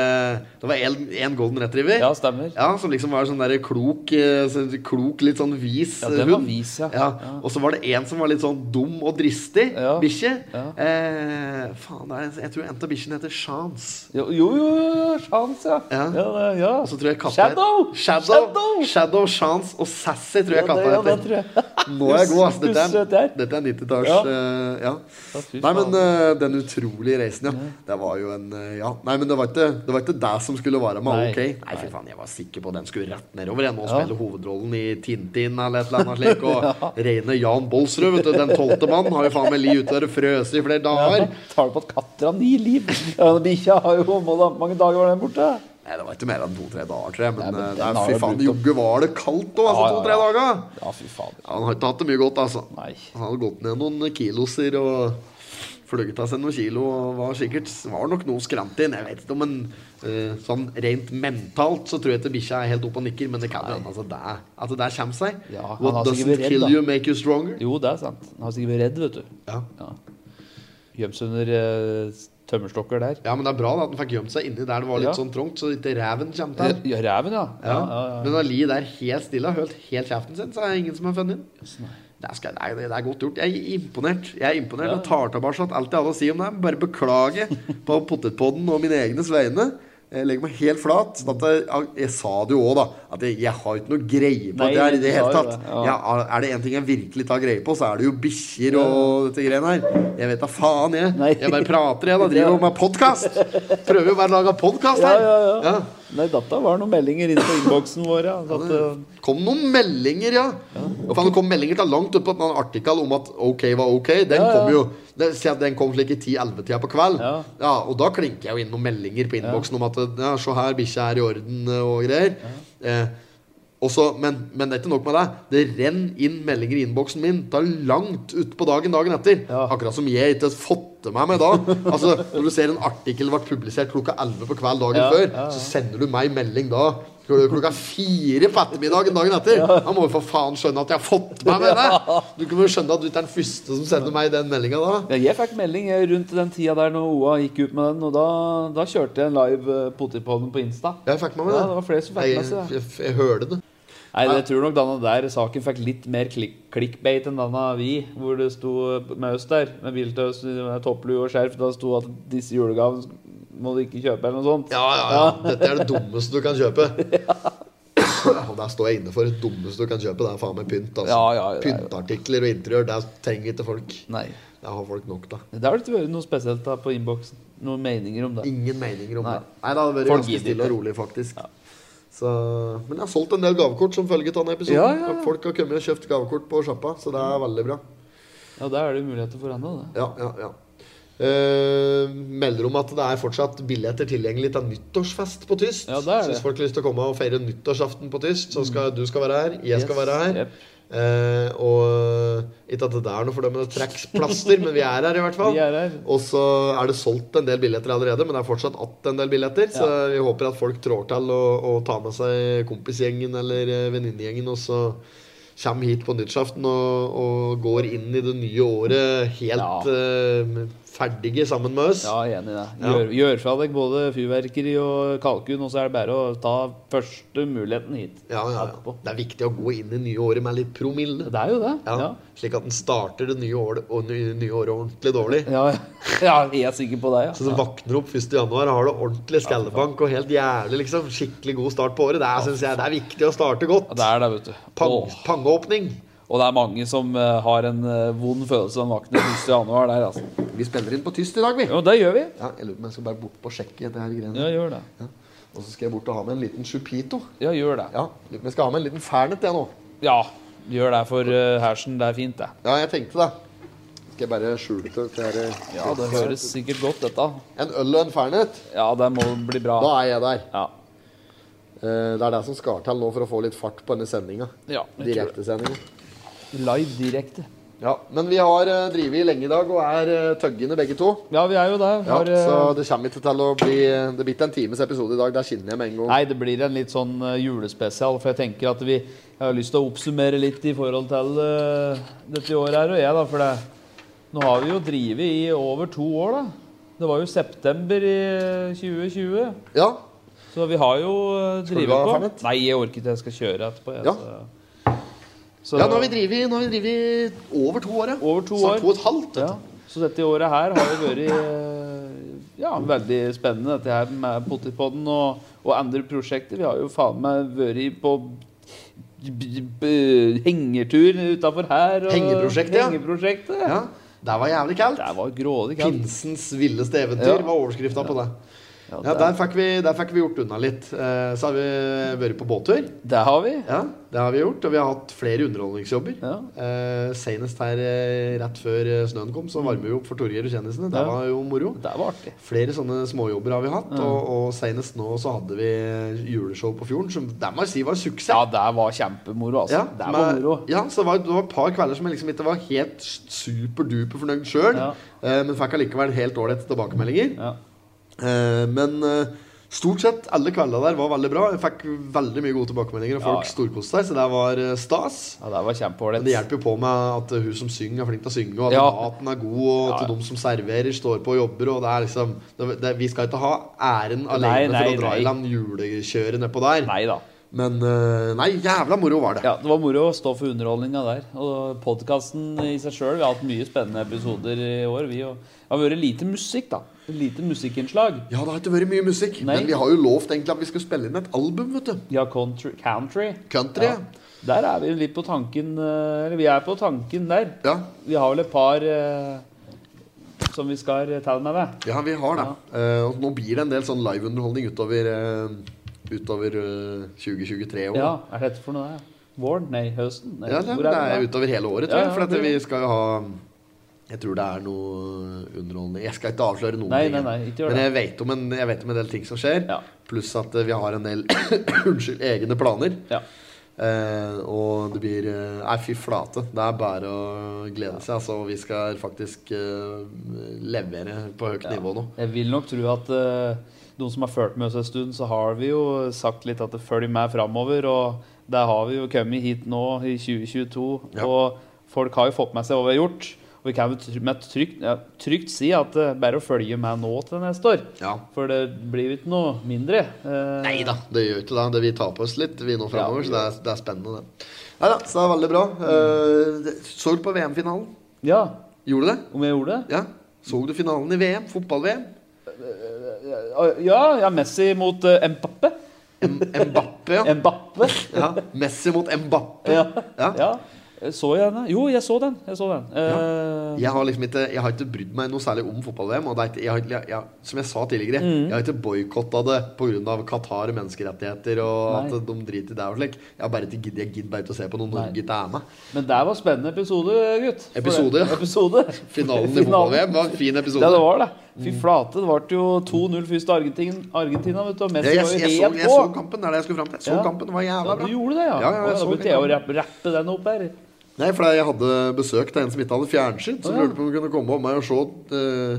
Speaker 1: Det var en, en golden retriever.
Speaker 2: Ja, stemmer.
Speaker 1: Ja, som liksom var sånn der klok, eh, så- klok litt sånn vis
Speaker 2: Ja,
Speaker 1: eh,
Speaker 2: den var
Speaker 1: hund.
Speaker 2: vis, ja. Ja.
Speaker 1: Og så var det en som var litt sånn dum og dristig
Speaker 2: Ja.
Speaker 1: bikkje.
Speaker 2: Ja.
Speaker 1: Eh, faen, det er, jeg tror en av bikkjene heter Chance.
Speaker 2: Jo, jo, jo, jo sjans, ja.
Speaker 1: Ja.
Speaker 2: det- ja.
Speaker 1: Og så tror jeg katten
Speaker 2: Shadow!
Speaker 1: Shadow!
Speaker 2: Shadow!
Speaker 1: Shadow! Chance og Sassy tror jeg
Speaker 2: Ja,
Speaker 1: katta
Speaker 2: det- ja, det
Speaker 1: heter.
Speaker 2: tror jeg.
Speaker 1: Nå er jeg god, ass. Dette
Speaker 2: Husker du
Speaker 1: er,
Speaker 2: det der?
Speaker 1: dette er 90-talls
Speaker 2: Ja.
Speaker 1: eh, ja.
Speaker 2: Ja, fy
Speaker 1: Nei, men
Speaker 2: faen.
Speaker 1: eh, den utrolige reisen, ja. Det var jo en eh, Ja. Nei, men det var ikke det, var ikke det som skulle være med
Speaker 2: Nei.
Speaker 1: OK. Nei, fy faen, jeg var sikker på den skulle rett nedover igjen og
Speaker 2: Ja.
Speaker 1: spille hovedrollen i Tintin eller et eller annet slik. Og rene Jan Bolsrud, vet du. Den tolvte mann har jo faen meg li ute der og frøs i flere dager.
Speaker 2: Tar du på at katter har ni liv? Ja, men Bikkja har jo hvor mange dager var den borte?
Speaker 1: Nei, det var ikke mer enn to-tre dager, tror jeg. Men,
Speaker 2: Nei, men
Speaker 1: eh, det
Speaker 2: den
Speaker 1: er,
Speaker 2: har jo
Speaker 1: fy faen,
Speaker 2: brukt opp-
Speaker 1: jogge var det kaldt òg, altså,
Speaker 2: Ja, ja,
Speaker 1: to-tre
Speaker 2: ja.
Speaker 1: dager.
Speaker 2: Ja, fy fader.
Speaker 1: Ja, han har ikke hatt det mye godt, altså.
Speaker 2: Nei.
Speaker 1: Han hadde gått ned noen kiloser og fløyet av seg noen kilo og var sikkert var nok noe skrant inn. Jeg vet ikke om en eh, sånn rent mentalt så tror jeg ikke bikkja er helt oppe og nikker, men det kan jo hende altså, det er- at det der kommer seg.
Speaker 2: Ja, han
Speaker 1: What
Speaker 2: har sikkert
Speaker 1: doesn't
Speaker 2: vært redd,
Speaker 1: kill
Speaker 2: da.
Speaker 1: you make you stronger.
Speaker 2: Jo, det er sant. Han har sikkert vært redd, vet du.
Speaker 1: Ja.
Speaker 2: Ja. Gjemt seg under eh, tømmerstokker der.
Speaker 1: ja, men det er bra da, at den fikk gjemt seg inni der det var litt
Speaker 2: Ja.
Speaker 1: sånn trangt, så ikke reven kommer
Speaker 2: Ja,
Speaker 1: til. den.
Speaker 2: reven, ja.
Speaker 1: Ja.
Speaker 2: ja, ja,
Speaker 1: Men da Li der helt stille har holdt helt kjeften sin, så er det ingen som har funnet den. Det er, skal, det, er, det er godt gjort. Jeg er imponert. Jeg er imponert og tar tilbake alt jeg hadde å si om det. Bare beklage på potetpodden og mine egnes vegne. Jeg legger meg helt flat. Sånn at jeg, jeg sa det jo òg, da. At jeg, jeg har ikke noe greie på
Speaker 2: Nei,
Speaker 1: det her i det
Speaker 2: du
Speaker 1: hele
Speaker 2: sa jo
Speaker 1: tatt.
Speaker 2: det, ja.
Speaker 1: Jeg, er- er det én ting jeg virkelig tar greie på, så er det jo bikkjer og dette greiene her. Jeg vet da faen, jeg.
Speaker 2: Nei.
Speaker 1: Jeg bare prater, jeg. Da driver jo med podkast. Prøver jo bare å lage podkast her.
Speaker 2: Ja, ja, ja.
Speaker 1: Ja.
Speaker 2: Nei, dette var noen meldinger inne på innboksen vår, ja. Så at, eh,
Speaker 1: Kom noen meldinger, ja. Og faen, Det kom meldinger til langt opp på en artikkel om at OK var OK. Den
Speaker 2: Ja, ja.
Speaker 1: kom jo det- se at Den kom slik i 10-11-tida på kveld. Ja.
Speaker 2: Ja.
Speaker 1: Og da klinker jeg jo inn noen meldinger på innboksen om at eh, ja, se her, bikkja er i orden eh, og greier. Eh, og så- men, men det er ikke nok med det. Det renner inn meldinger i innboksen min. Det er langt utpå dagen dagen etter.
Speaker 2: Ja.
Speaker 1: Akkurat som jeg ikke har fått det med meg da. Altså, Når du ser en artikkel ble publisert klokka 11 på kveld dagen
Speaker 2: Ja,
Speaker 1: før,
Speaker 2: ja, ja.
Speaker 1: så sender du meg melding da klok- klokka fire på ettermiddagen dagen etter. Han må jo for faen skjønne at jeg har fått med meg det! Du kan jo skjønne at du ikke er den første som sender meg den meldinga da.
Speaker 2: ja, jeg fikk melding eh, rundt den tida der når OA gikk ut med den, og da, da kjørte jeg en live eh, potetpodden på Insta.
Speaker 1: Jeg fikk med meg
Speaker 2: Ja, det var flere som fikk med seg
Speaker 1: Jeg, jeg, jeg hørte det.
Speaker 2: Nei, jeg tror nok denne der saken fikk litt mer klikk, clickbait enn denne vi, hvor det sto med oss der, med biltøs, med topplue og skjerf, da sto at disse julegavene må du ikke kjøpe eller noe sånt.
Speaker 1: Ja, ja, ja. Dette er det dummeste du kan kjøpe. Og der står jeg inne for det dummeste du kan kjøpe. Det er faen meg pynt. Altså.
Speaker 2: Ja, ja, det er jo-
Speaker 1: Pyntartikler og interiør, det trenger ikke folk.
Speaker 2: Nei.
Speaker 1: Det har folk nok av.
Speaker 2: Det har ikke vært noe spesielt da på innboksen. Noen meninger om det.
Speaker 1: Ingen meninger om
Speaker 2: Nei.
Speaker 1: det. Nei, det hadde vært
Speaker 2: Folk
Speaker 1: ganske
Speaker 2: gidder
Speaker 1: stille og
Speaker 2: ikke.
Speaker 1: rolig, faktisk. Så, men jeg har solgt en del gavekort som følge av denne episoden.
Speaker 2: Ja, ja, ja.
Speaker 1: Og Folk har kommet og kjøpt gavekort på sjappa, så det er veldig bra.
Speaker 2: Ja, der er det jo muligheter for henne, da.
Speaker 1: Ja, ja, ja. Eh, melder om at det er fortsatt billetter tilgjengelig til nyttårsfest på Tyst.
Speaker 2: Ja, det er
Speaker 1: Så
Speaker 2: det. Mm.
Speaker 1: hvis folk har lyst til å komme og feire nyttårsaften på Tyst, så skal du skal være her, jeg skal
Speaker 2: Yes,
Speaker 1: være her.
Speaker 2: jep.
Speaker 1: Eh, og ikke at det er noe fordømmende trekkplaster, men vi er her i hvert fall.
Speaker 2: Vi er her.
Speaker 1: Og så er det solgt en del billetter allerede, men det er fortsatt att en del billetter. Så vi håper at folk trår til og, og tar med seg kompisgjengen eller eh, venninnegjengen, og så kommer hit på nyttårsaften og, og går inn i det nye året helt
Speaker 2: Ja.
Speaker 1: eh, ferdige sammen med oss.
Speaker 2: Ja, jeg er enig i det.
Speaker 1: Ja.
Speaker 2: Gjør, gjør fra deg både fyrverkeri og kalkun, og så er det bare å ta første muligheten hit.
Speaker 1: Ja, ja, ja.
Speaker 2: Etterpå.
Speaker 1: Det er viktig å gå inn i det nye året med litt promille.
Speaker 2: Det er jo det.
Speaker 1: Ja,
Speaker 2: Ja.
Speaker 1: Slik at en starter det nye året, og nye, nye året ordentlig dårlig.
Speaker 2: Ja, ja jeg er sikker på det, ja.
Speaker 1: Så du våkner opp 1. januar og har det ordentlig skallebank og helt jævlig, liksom. Skikkelig god start på året. Det er, synes jeg, det er viktig å starte
Speaker 2: Ja,
Speaker 1: godt.
Speaker 2: Det er det, vet du.
Speaker 1: Pang,
Speaker 2: Åh.
Speaker 1: pangeåpning.
Speaker 2: Og det er mange som eh, har en eh, vond følelse når man våkner 1. januar der, altså.
Speaker 1: Vi spiller inn på tyst i dag, vi.
Speaker 2: Jo, det gjør vi.
Speaker 1: Ja, jeg lurer på om jeg skal bare bort på og sjekke dette her
Speaker 2: Ja,
Speaker 1: greiene.
Speaker 2: gjør det.
Speaker 1: Ja. Og så skal jeg bort og ha med en liten chupito.
Speaker 2: Ja, gjør det.
Speaker 1: Ja, lurer på om jeg skal ha med en liten fernet, jeg nå.
Speaker 2: Ja, gjør det for eh, hersen. Det er fint, det.
Speaker 1: Ja, jeg tenkte det. Skal jeg bare skjule det til dere?
Speaker 2: Ja, det høres sikkert godt, dette.
Speaker 1: En øl og en fernet,
Speaker 2: Ja, det må bli bra.
Speaker 1: da er jeg der.
Speaker 2: Ja.
Speaker 1: Eh, Det er det som skal til nå for å få litt fart på denne sendinga.
Speaker 2: ja jeg tror det.
Speaker 1: Direktesendinga.
Speaker 2: Live direkte.
Speaker 1: Ja, men vi har eh, drevet lenge i dag og er eh, tøggende begge to.
Speaker 2: Ja, vi er jo der.
Speaker 1: Ja,
Speaker 2: Har, eh,
Speaker 1: så det kommer ikke til å bli eh, Det blir ikke en times episode i dag. Der skinner jeg med en gang.
Speaker 2: Nei, det blir en litt sånn eh, julespesial, for jeg tenker at vi Jeg har lyst til å oppsummere litt i forhold til eh, dette året her og jeg, da, for det Nå har vi jo drevet i over to år, da. Det var jo september i eh, 2020.
Speaker 1: Ja,
Speaker 2: Så vi har jo eh,
Speaker 1: du ha
Speaker 2: drevet på.
Speaker 1: fernet?
Speaker 2: Nei, jeg orker ikke. Jeg skal kjøre etterpå. Jeg,
Speaker 1: Ja.
Speaker 2: så. Så-
Speaker 1: ja nå har vi drevet nå har vi drevet i over to år, ja.
Speaker 2: Over to
Speaker 1: Snart
Speaker 2: år.
Speaker 1: to og et halvt.
Speaker 2: ja.
Speaker 1: vet du.
Speaker 2: Så dette året her har jo vært eh, ja, veldig spennende, dette her med Potipodden og, og andre prosjekter. Vi har jo faen meg vært på b- b- b- hengertur utafor her. Og
Speaker 1: Hengeprosjektet, ja.
Speaker 2: hengeprosjektet.
Speaker 1: Ja, Det var jævlig kaldt.
Speaker 2: Det var grådig kaldt.
Speaker 1: Pinsens villeste eventyr
Speaker 2: Ja.
Speaker 1: var overskrifta på det. Ja, der fikk vi, der fikk vi gjort unna litt. Eh, Så har vi vært på båttur.
Speaker 2: Der har vi.
Speaker 1: Ja, det har vi gjort. Og vi har hatt flere underholdningsjobber.
Speaker 2: Ja.
Speaker 1: Eh, senest her eh, rett før eh, snøen kom, så varmer vi opp for Torgeir og kjendisene. Det
Speaker 2: Ja.
Speaker 1: var jo moro.
Speaker 2: Det var artig.
Speaker 1: Flere sånne småjobber har vi hatt, og, og senest nå så hadde vi juleshow på fjorden, som det må jeg si var suksess.
Speaker 2: Ja, det var kjempemoro, altså. det
Speaker 1: som
Speaker 2: var
Speaker 1: er-
Speaker 2: moro.
Speaker 1: ja, så det var, det var et par kvelder som jeg liksom ikke var helt superduper fornøyd sjøl,
Speaker 2: Ja.
Speaker 1: eh, men fikk allikevel helt ålreite tilbakemeldinger.
Speaker 2: Ja.
Speaker 1: Eh, men eh, stort sett alle kveldene der var veldig bra. Jeg fikk veldig mye gode tilbakemeldinger, og
Speaker 2: Ja,
Speaker 1: folk storkoste seg, så det var eh, stas.
Speaker 2: ja, det var
Speaker 1: Men det
Speaker 2: kjempeålreit.
Speaker 1: hjelper jo på med at eh, hun som synger, er flink til å synge, og at
Speaker 2: Ja.
Speaker 1: maten er god, og
Speaker 2: Ja, ja.
Speaker 1: til dem som serverer, står på og jobber, og det er liksom det, det, Vi skal ikke ha æren
Speaker 2: Nei,
Speaker 1: alene
Speaker 2: nei,
Speaker 1: for å dra
Speaker 2: nei.
Speaker 1: i land julekjøret nedpå der.
Speaker 2: Nei da.
Speaker 1: Men eh, nei, jævla moro var det.
Speaker 2: Ja, Det var moro å stå for underholdninga der. Og podkasten i seg sjøl. Vi har hatt mye spennende episoder i år. Vi og det har vært lite musikk, da. Lite musikkinnslag.
Speaker 1: Ja, det har ikke vært mye musikk,
Speaker 2: Nei.
Speaker 1: men vi har jo lovt egentlig at vi skal spille inn et album, vet du.
Speaker 2: Ja, country. country.
Speaker 1: Country.
Speaker 2: Ja. Der er vi litt på tanken eh, Eller vi er på tanken der.
Speaker 1: Ja,
Speaker 2: Vi har vel et par eh, som vi skal ta med deg.
Speaker 1: ja vi har det. Eh, og nå blir det en del sånn liveunderholdning utover, eh, utover eh, 2023 òg.
Speaker 2: Ja, er dette for noe? der? Våren? Nei, høsten? Nei,
Speaker 1: Ja, det,
Speaker 2: hvor
Speaker 1: det
Speaker 2: vi
Speaker 1: er
Speaker 2: da?
Speaker 1: utover hele året, tror
Speaker 2: Ja,
Speaker 1: jeg.
Speaker 2: ja,
Speaker 1: For at
Speaker 2: det blir
Speaker 1: vi skal jo ha Jeg tror det er noe underholdende Jeg skal ikke avsløre noen
Speaker 2: Nei,
Speaker 1: ting.
Speaker 2: nei, nei, ikke gjør
Speaker 1: men
Speaker 2: det.
Speaker 1: jeg vet, om en, jeg vet om en del ting som skjer.
Speaker 2: Ja.
Speaker 1: Pluss at eh, vi har en del unnskyld, egne planer.
Speaker 2: Ja.
Speaker 1: Eh, og det blir eh, Nei, fy flate. Det er bare å glede seg. Altså, vi skal faktisk eh, levere på høyt nivå nå.
Speaker 2: Jeg vil nok tro at eh, de som har fulgt med oss en stund, så har vi jo sagt litt at det følger med framover. Og der har vi jo kommet hit nå i 2022,
Speaker 1: Ja.
Speaker 2: og folk har jo fått med seg hva vi har gjort. Og vi kan jo try- med trygt, ja, trygt si at det er bare å følge med nå til neste år.
Speaker 1: Ja.
Speaker 2: For det blir jo ikke noe mindre. Eh,
Speaker 1: Nei da, det gjør ikke det. det. Vi tar på oss litt vi nå framover,
Speaker 2: Ja.
Speaker 1: så det er, det er spennende, det. Nei da, så det er veldig bra. Eh, det- så du på VM-finalen?
Speaker 2: Ja,
Speaker 1: Gjorde du det?
Speaker 2: om jeg gjorde det?
Speaker 1: Ja. Så du finalen i VM? Fotball-VM?
Speaker 2: Ah, Ja, ja Messi mot eh, Mbappe.
Speaker 1: M- Mbappé, ja.
Speaker 2: Mbappe.
Speaker 1: ja. Messi mot Mbappé.
Speaker 2: Ja.
Speaker 1: Ja.
Speaker 2: ja. Så jeg den? Jo, jeg så den. Jeg så den. Eh,
Speaker 1: Jeg har liksom ikke, jeg har ikke brydd meg noe særlig om fotball-VM. Og det er ikke, jeg har, jeg, jeg, som jeg sa tidligere,
Speaker 2: Mm.
Speaker 1: jeg har ikke boikotta det pga. Qatar og menneskerettigheter og
Speaker 2: Nei.
Speaker 1: at de driter i det og slik. Jeg har bare ikke gidd- jeg gidder bare ikke å se på når
Speaker 2: Nei.
Speaker 1: Norge ikke er med.
Speaker 2: Men det var spennende episode, gutt. For
Speaker 1: Episode,
Speaker 2: det-
Speaker 1: ja.
Speaker 2: episode.
Speaker 1: Finalen i fotball-VM Mm. var en fin
Speaker 2: Ja,
Speaker 1: episode.
Speaker 2: det var det. Fy flate, det ble jo 2-0 først til Argentin- Argentina, vet du. Og
Speaker 1: jeg,
Speaker 2: Messi
Speaker 1: jeg, jeg,
Speaker 2: var jo
Speaker 1: så,
Speaker 2: helt
Speaker 1: jeg så
Speaker 2: på.
Speaker 1: kampen. Det er det jeg skulle fram til. Jeg så
Speaker 2: Ja.
Speaker 1: kampen, det var jævla
Speaker 2: Ja, du
Speaker 1: bra.
Speaker 2: gjorde det, ja?
Speaker 1: Ja, ja, jeg
Speaker 2: Å, da
Speaker 1: så
Speaker 2: begynte
Speaker 1: litt
Speaker 2: jeg å
Speaker 1: av
Speaker 2: rapp- rappe den opp her.
Speaker 1: Nei, for jeg hadde besøk til en som ikke hadde fjernsyn, som
Speaker 2: Å, ja.
Speaker 1: lurte på om hun kunne komme opp meg og se, eh,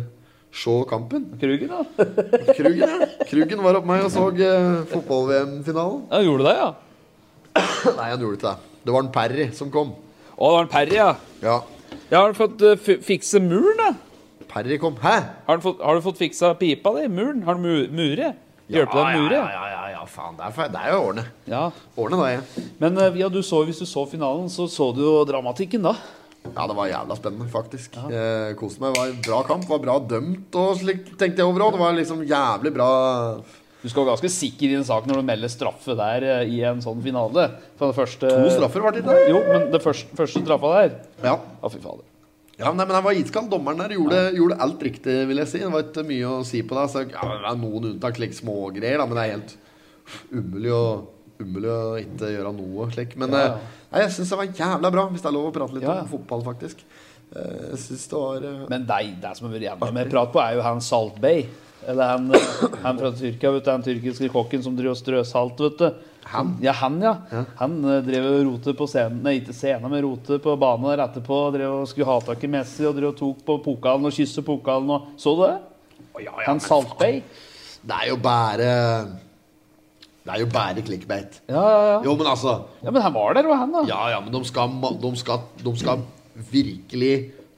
Speaker 1: se kampen.
Speaker 2: Krugen, da.
Speaker 1: Krugen, ja. Krugen var opp meg og så eh, fotball-VM-finalen.
Speaker 2: Ja, gjorde det, ja?
Speaker 1: Nei, han gjorde ikke det. Det var en Parry som kom.
Speaker 2: Å, det var en Perry, ja.
Speaker 1: Ja,
Speaker 2: Ja, har du fått eh, fi- fikse muren, da?
Speaker 1: Parry kom. Hæ?
Speaker 2: Har du fått, har du fått fiksa pipa di? Muren? Har du mu mure? Hjelpe deg med mure?
Speaker 1: Ja, ja, ja, ja, faen. Det er, fe- det er jo årene.
Speaker 2: Ja.
Speaker 1: Årene da, jeg.
Speaker 2: Men eh, ja, du så, hvis du så finalen, så så du jo dramatikken, da.
Speaker 1: Ja, det var jævla spennende, faktisk. Eh, Koste meg. Det var en bra kamp. Var bra dømt og slikt, tenkte jeg overalt. Det var liksom jævlig bra
Speaker 2: Du skal være ganske sikker i en sak når du melder straffe der eh, i en sånn finale. For det første,
Speaker 1: To straffer var det ikke?
Speaker 2: Jo, men det første, første straffa der
Speaker 1: Ja.
Speaker 2: Å, fy fader.
Speaker 1: ja nei, men han var iskald. Dommeren der gjorde, gjorde alt riktig, vil jeg si. Det var ikke mye å si på det. Så, ja, det er noen unntak, slik smågreier, da, men det er helt umulig å Umulig å ikke gjøre noe slik. Men
Speaker 2: Ja, ja.
Speaker 1: eh, Nei, jeg syns det var jævla bra, hvis det er lov å prate litt
Speaker 2: Ja, ja.
Speaker 1: om fotball, faktisk. Eh, Jeg syns det var eh,
Speaker 2: Men nei, det som har vært jævla mer prat på, er jo han Salt Bay. Eller han, eh, han fra Tyrkia, vet du. Han tyrkiske kokken som driver og strør salt, vet du.
Speaker 1: Han?
Speaker 2: Ja, han, ja. Han eh, drev og rotet på scenen, nei, ikke scenen, men rotet på banen der etterpå. Drev og skulle ha tak i Messi og drev og tok på pokalen og kysset pokalen og Så du det? han Salt Bay?
Speaker 1: Det er jo bare Det er jo bare clickbait.
Speaker 2: Ja, ja, ja.
Speaker 1: Jo, men altså
Speaker 2: Ja, Men han var der, og han, da.
Speaker 1: Ja, ja, men de skal, ma- de skal, de skal virkelig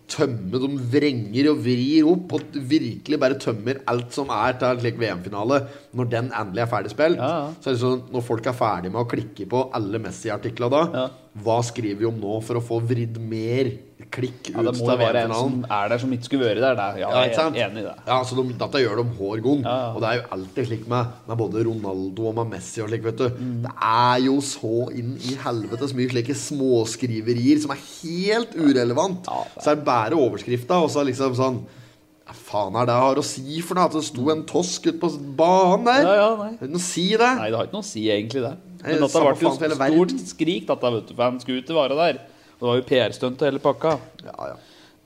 Speaker 1: tømme. De vrenger og vrir opp og virkelig bare tømmer alt som er til en slik VM-finale. Når den endelig er ferdig spilt,
Speaker 2: Ja, ja.
Speaker 1: så er det sånn når folk er ferdig med å klikke på alle Messi-artikler da,
Speaker 2: Ja.
Speaker 1: hva skriver vi om nå for å få vridd mer klikk ut
Speaker 2: Ja, det må
Speaker 1: til
Speaker 2: jo være en som
Speaker 1: VM-finalen?
Speaker 2: er der som ikke skulle vært der. der. Ja,
Speaker 1: Ja,
Speaker 2: jeg
Speaker 1: ikke
Speaker 2: er
Speaker 1: sant?
Speaker 2: Enig i det.
Speaker 1: Ja, så de, dette gjør de hver gang.
Speaker 2: Ja, ja.
Speaker 1: Og det er jo alltid slik med, med både Ronaldo og med Messi og slik, vet du.
Speaker 2: Mm.
Speaker 1: Det er jo så inn i helvetes mye slike småskriverier som er helt urelevant.
Speaker 2: Ja, det er-
Speaker 1: Så er det bare overskrifta, og så er det liksom sånn Hva faen er det jeg har å si for noe? At det sto en tosk ute på banen der?
Speaker 2: Ja, ja, nei.
Speaker 1: Har du noe å si det?
Speaker 2: Nei, det har ikke noe å si egentlig det.
Speaker 1: Nei,
Speaker 2: Men at det
Speaker 1: samme
Speaker 2: har vært
Speaker 1: faen for hele
Speaker 2: et
Speaker 1: verden.
Speaker 2: stort skrik at det vet du, for han skulle ikke være der. Og det var jo PR-stunt og hele pakka.
Speaker 1: Ja, ja.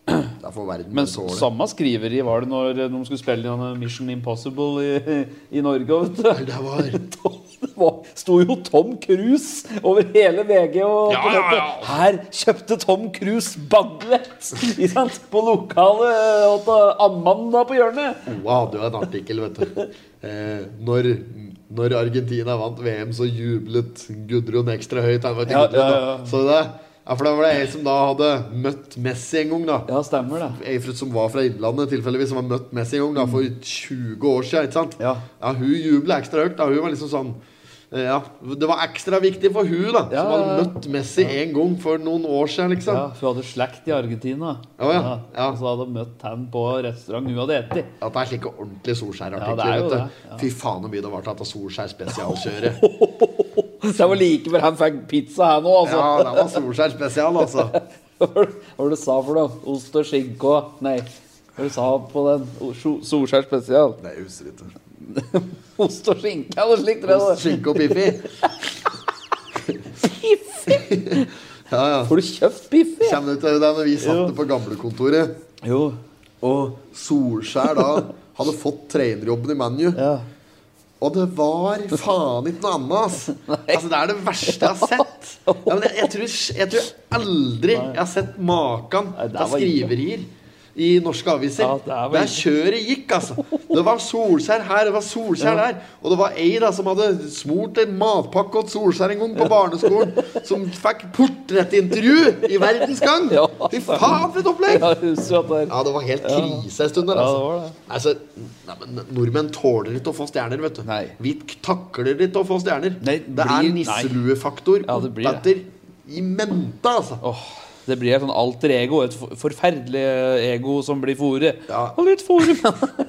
Speaker 1: Det er for verden
Speaker 2: Men
Speaker 1: å tåle.
Speaker 2: samme skriveri var det når de skulle spille inn denne Mission Impossible i, i Norge. Vet du.
Speaker 1: Det var
Speaker 2: Det var, sto jo Tom Cruise over hele VG og
Speaker 6: Ja,
Speaker 2: på
Speaker 6: ja, ja.
Speaker 2: nettet. Her kjøpte Tom Cruise baglett ikke sant, på eh, lokalet til Amanda på hjørnet.
Speaker 1: Oa hadde jo en artikkel, vet du. Eh, når, når Argentina vant VM, så jublet Gudrun ekstra høyt. Han var til
Speaker 2: Ja,
Speaker 1: Gudrun,
Speaker 2: ja,
Speaker 1: da.
Speaker 2: ja.
Speaker 1: Så det, ja, for da var det ei som da hadde møtt Messi en gang, da.
Speaker 2: Ja, stemmer det.
Speaker 1: Ei fra- som var fra Innlandet, tilfeldigvis, som har møtt Messi en gang da, for 20 år siden. Ikke sant?
Speaker 2: Ja.
Speaker 1: hun jubla ekstra høyt. da, Hun var liksom sånn eh, ja, Det var ekstra viktig for hun da,
Speaker 2: Ja,
Speaker 1: som hadde
Speaker 2: ja, ja.
Speaker 1: møtt Messi en gang for noen år siden. liksom.
Speaker 2: Ja, for hun hadde slekt i Argentina.
Speaker 1: Å, ja. Ja.
Speaker 2: Og så hadde hun møtt han på restaurant hun hadde spist.
Speaker 1: At det er slike ordentlige Solskjær-artikler.
Speaker 2: Ja, det er
Speaker 1: vet
Speaker 2: jo
Speaker 1: du.
Speaker 2: det, ja.
Speaker 1: Fy faen så mye det var til at Solskjær spesialkjører.
Speaker 2: Så det var like før han fikk pizza her nå, altså.
Speaker 1: Ja, det var Solskjær spesial, altså.
Speaker 2: Hva var det du sa for noe? Ost og skinke og Nei. Hva var det du sa på den? O- Sjo- Solskjær spesial?
Speaker 1: Nei, jeg husker ikke.
Speaker 2: Ost og skinke eller slikt? tror jeg det var.
Speaker 1: Skinke og Piffi. Ja, ja.
Speaker 2: Får du kjøpt biff? i?
Speaker 1: Kjenner du til det når vi satt på gamlekontoret,
Speaker 2: Jo.
Speaker 1: og Solskjær da hadde fått trenerjobben i ManU?
Speaker 2: Ja.
Speaker 1: Og det var faen ikke noe annet, ass. Altså, det er det verste jeg har sett. Ja, men jeg, jeg, tror, jeg tror aldri jeg har sett maken
Speaker 2: Nei, det
Speaker 1: til
Speaker 2: var ille.
Speaker 1: skriverier i norske aviser.
Speaker 2: Ja, det var
Speaker 1: Der
Speaker 2: ille.
Speaker 1: kjøret gikk, altså. Det var Solskjær her, det var Solskjær der. Og det var ei da som hadde smurt en matpakke til Solskjær en gang på barneskolen, som fikk portrettintervju i Verdens Gang.
Speaker 2: Ja.
Speaker 1: Fy faen, for et opplegg!
Speaker 2: Ja, jeg husker at det er
Speaker 1: Ja, det var helt krise en stund der,
Speaker 2: Ja,
Speaker 1: altså.
Speaker 2: det var det.
Speaker 1: Altså, nei, men nordmenn tåler ikke å få stjerner, vet du.
Speaker 2: Nei.
Speaker 1: Vi takler ikke å få stjerner.
Speaker 2: Nei, det
Speaker 1: det
Speaker 2: blir-
Speaker 1: er nisseluefaktor
Speaker 2: Ja, det blir det.
Speaker 1: oppetter i mente, altså.
Speaker 2: Åh, det blir et sånn alter ego. Et for- forferdelig ego som blir fôret.
Speaker 1: Ja.
Speaker 2: Og litt fôret, men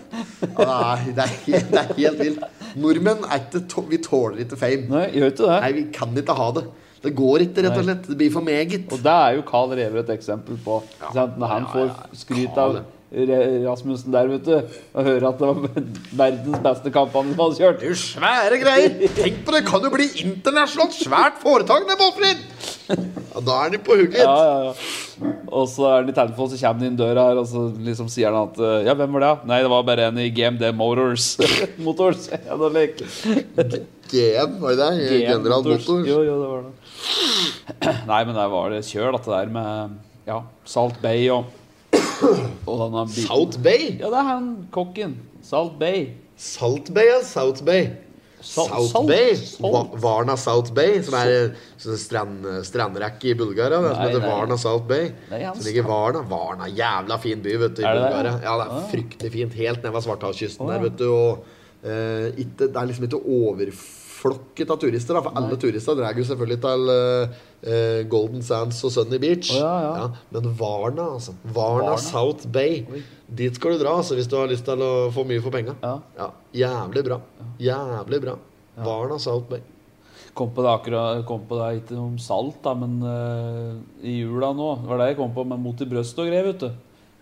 Speaker 1: Nei, det er, helt- det er helt vilt. Nordmenn er ikke tå- Vi tåler ikke fame.
Speaker 2: Nei, gjør ikke det.
Speaker 1: Nei, vi kan ikke ha det. Det går ikke, rett og
Speaker 2: Nei.
Speaker 1: slett. Det blir for meget.
Speaker 2: Og det er jo Carl Rever et eksempel på. ikke sant? Når han
Speaker 1: Ja, ja,
Speaker 2: får
Speaker 1: ja.
Speaker 2: skryt
Speaker 1: Carl,
Speaker 2: av Re- Rasmussen der, vet du, og hører at det var verdens beste kamp han hadde kjørt
Speaker 1: Det er jo svære greier! Tenk på det! Kan jo bli internasjonalt svært foretak, det, Bolfrid! Ja, da er de på hugget.
Speaker 2: Ja, ja, ja. Og så er han i telefonen, så kommer han inn døra her, og så liksom sier han at eh, Ja, hvem var det? Nei, det var bare en i GMD Motors. Motors. Ja, det var lek.
Speaker 1: GM, var det det? General Motors.
Speaker 2: Jo, jo, det var det. Nei, men der var det kjøl, dette der med ja, Salt Bay og og denne biten.
Speaker 1: South Bay?
Speaker 2: Ja, det er han kokken. Salt Bay.
Speaker 1: Salt Bay, ja. South Bay.
Speaker 2: Sal-
Speaker 1: South
Speaker 2: salt-
Speaker 1: Bay?
Speaker 2: salt.
Speaker 1: Va- Varna South Bay, som er en sånn strand, strandrekke i Bulgaria. Det, som
Speaker 2: Nei,
Speaker 1: heter
Speaker 2: nei.
Speaker 1: Varna South Bay.
Speaker 2: Nei, han
Speaker 1: Som ligger i Varna. Varna, Jævla fin by, vet du, i
Speaker 2: Er det Ah. det?
Speaker 1: Bulgaria. Ja, det er fryktelig fint. Helt ned ved Svartehavskysten der, vet du. Og eh, ikke, det er liksom ikke overflokket av turister, da. For alle turister drar jo selvfølgelig til eh, Golden Sands og Sunny Beach.
Speaker 2: Å, ja, ja.
Speaker 1: Men Varna, altså. Varna, South Bay. Dit skal du dra altså, hvis du har lyst til å få mye for penga.
Speaker 2: Ja.
Speaker 1: Jævlig bra. Jævlig bra. Varna South Bay.
Speaker 2: Kom på det akkurat, kom på det ikke om salt, da, men eh, i jula nå det var det jeg kom på, men mot i brøstet og greier, vet du.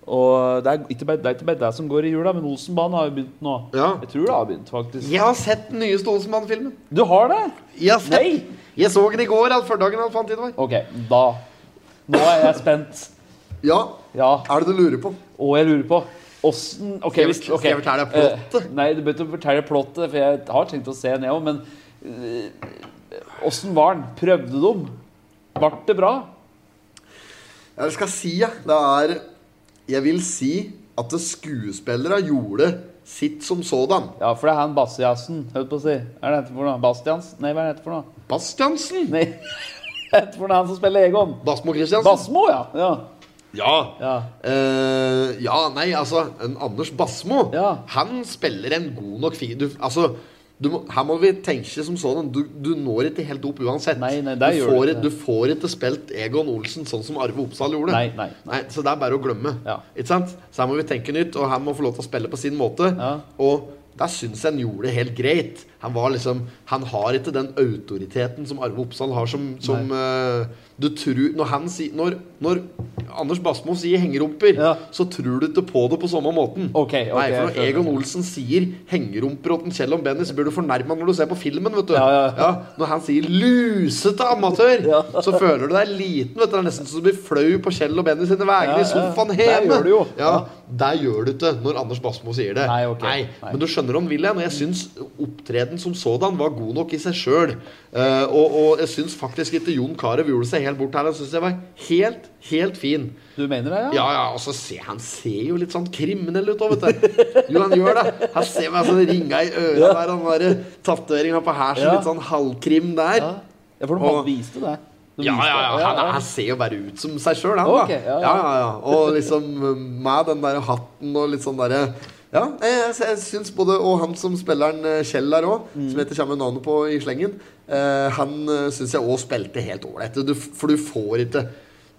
Speaker 2: Og det er ikke bare det, er ikke bare det som går i jula, men Olsenbanen har jo begynt nå.
Speaker 1: Ja.
Speaker 2: Jeg tror det har begynt, faktisk.
Speaker 1: Jeg har sett den nye Stolsenmann-filmen.
Speaker 2: Du har det?
Speaker 1: Jeg har sett
Speaker 2: Nei!
Speaker 1: Jeg så den i går, all førdagen han fant tid var.
Speaker 2: Ok, da. Nå er jeg spent.
Speaker 1: Ja,
Speaker 2: Ja,
Speaker 1: er det du lurer på?
Speaker 2: og jeg lurer på Åssen ok,
Speaker 1: Skal jeg-
Speaker 2: hvis- ok.
Speaker 1: skal jeg fortelle deg plottet?
Speaker 2: Eh, nei, du bør ikke fortelle plottet, for jeg har tenkt å se den, jeg òg, men eh, åssen var den? Prøvde de? Ble det bra?
Speaker 1: Ja, det skal jeg si, ja. Det er Jeg vil si at det skuespillere gjorde sitt som sådan.
Speaker 2: Ja, for det er han Bastiansen, holdt på å si. Er det hette for noe? Bastians? Nei, hva er det hette for noe?
Speaker 1: Bastiansen!
Speaker 2: Nei, hette for noe han som spiller Egon.
Speaker 1: Basmo Christiansen.
Speaker 2: Basmo, ja. Ja.
Speaker 1: ja.
Speaker 2: ja.
Speaker 1: Eh, ja, nei, altså en Anders Basmo
Speaker 2: Ja.
Speaker 1: Han spiller en god nok fi... Du, altså, du må, her må vi tenke som sånn du, du når ikke helt opp uansett.
Speaker 2: Nei, nei, det
Speaker 1: du,
Speaker 2: gjør
Speaker 1: får,
Speaker 2: du ikke.
Speaker 1: du får ikke spilt Egon Olsen sånn som Arve Oppsal gjorde.
Speaker 2: Nei, nei, nei.
Speaker 1: så det er bare å glemme.
Speaker 2: Ja.
Speaker 1: Ikke sant? Så her må vi tenke nytt, og her må få lov til å spille på sin måte.
Speaker 2: Ja.
Speaker 1: Og Der syns jeg han gjorde det helt greit. Han var liksom Han har ikke den autoriteten som Arve Oppsal har, som, som eh, du tror Når han sier Når, når Anders Basmo sier 'hengerumper',
Speaker 2: Ja.
Speaker 1: så tror du ikke på det på samme måten.
Speaker 2: Ok, ok,
Speaker 1: Nei, for
Speaker 2: jeg
Speaker 1: når
Speaker 2: skjønner.
Speaker 1: Egon Olsen sier 'hengerumper' og til Kjell og Benny, så blir du fornærma når du ser på filmen, vet du.
Speaker 2: Ja, ja, ja.
Speaker 1: når han sier 'lusete amatør',
Speaker 2: Ja.
Speaker 1: så føler du deg liten, vet du. Det er nesten så du blir flau på Kjell og Benny sine vegne
Speaker 2: Ja,
Speaker 1: i sofaen
Speaker 2: ja.
Speaker 1: hjemme.
Speaker 2: Der gjør du jo.
Speaker 1: Ja, der gjør du ikke når Anders Basmo sier det.
Speaker 2: Nei, ok. Nei.
Speaker 1: Men du skjønner om Wilhelm, og jeg syns opptreden som sådan var god nok i seg sjøl. Eh, og, og jeg syns faktisk ikke Jon Carew gjorde seg helt bort her. Han syns jeg var helt, helt fin.
Speaker 2: Du mener det,
Speaker 1: Ja, ja, og så ser han ser jo litt sånn kriminell ut òg, vet du. Jo, han gjør det. Han ser meg sånn ringa i øra der, han derre tatoveringa på her, så
Speaker 2: Ja.
Speaker 1: litt sånn halvkrim der.
Speaker 2: Ja, ja for de hadde
Speaker 1: Og-
Speaker 2: vist det. De
Speaker 1: Ja,
Speaker 2: viste
Speaker 1: ja,
Speaker 2: det.
Speaker 1: ja. Han, han ser jo bare ut som seg sjøl, han.
Speaker 2: Ok,
Speaker 1: da.
Speaker 2: ja, ja.
Speaker 1: ja, ja, ja. Og liksom eh, med den der hatten og litt sånn derre ja, jeg, jeg, jeg syns både Og han som spilleren eh, Kjell der òg,
Speaker 2: Mm.
Speaker 1: som heter kommer navnet på i slengen, eh, han eh, syns jeg òg spilte helt ålreit. Du- For du får ikke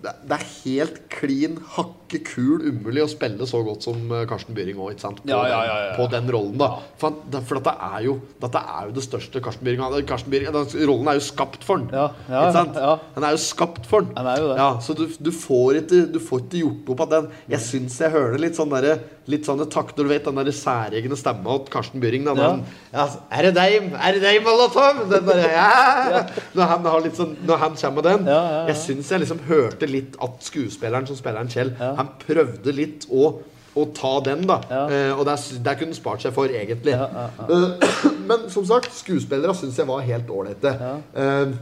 Speaker 1: det, det er helt klin hakke kul umulig å spille så godt som eh, Karsten Byring òg, ikke sant? På,
Speaker 2: Ja, ja,
Speaker 1: den-
Speaker 2: ja, ja.
Speaker 1: på den rollen, da. For, han- det- for dette er jo Dette er jo det største Karsten Byring har. Karsten Byring, den rollen er jo skapt for han.
Speaker 2: Ja, ja,
Speaker 1: ikke sant?
Speaker 2: ja.
Speaker 1: Han er jo skapt for den.
Speaker 2: Han er jo det.
Speaker 1: Ja, så du, du, får ikke, du får ikke gjort opp av den. Jeg syns jeg hører litt sånn derre Litt sånn takt når du vet den derre særegne stemma til Karsten Byring. Da,
Speaker 2: Ja.
Speaker 1: den, ja. så, er det deg, er det deg, Molotov? Den derre ja. Når han har litt sånn Når han kommer med den.
Speaker 2: Ja, ja, ja.
Speaker 1: Jeg syns jeg liksom hørte litt at skuespilleren som spiller en Kjell, han prøvde litt å å ta den, da.
Speaker 2: Ja.
Speaker 1: Eh, og der, sy- der kunne han spart seg for, egentlig.
Speaker 2: Ja, ja,
Speaker 1: Eh, men som sagt, skuespillere syns jeg var helt ålreite. Eh,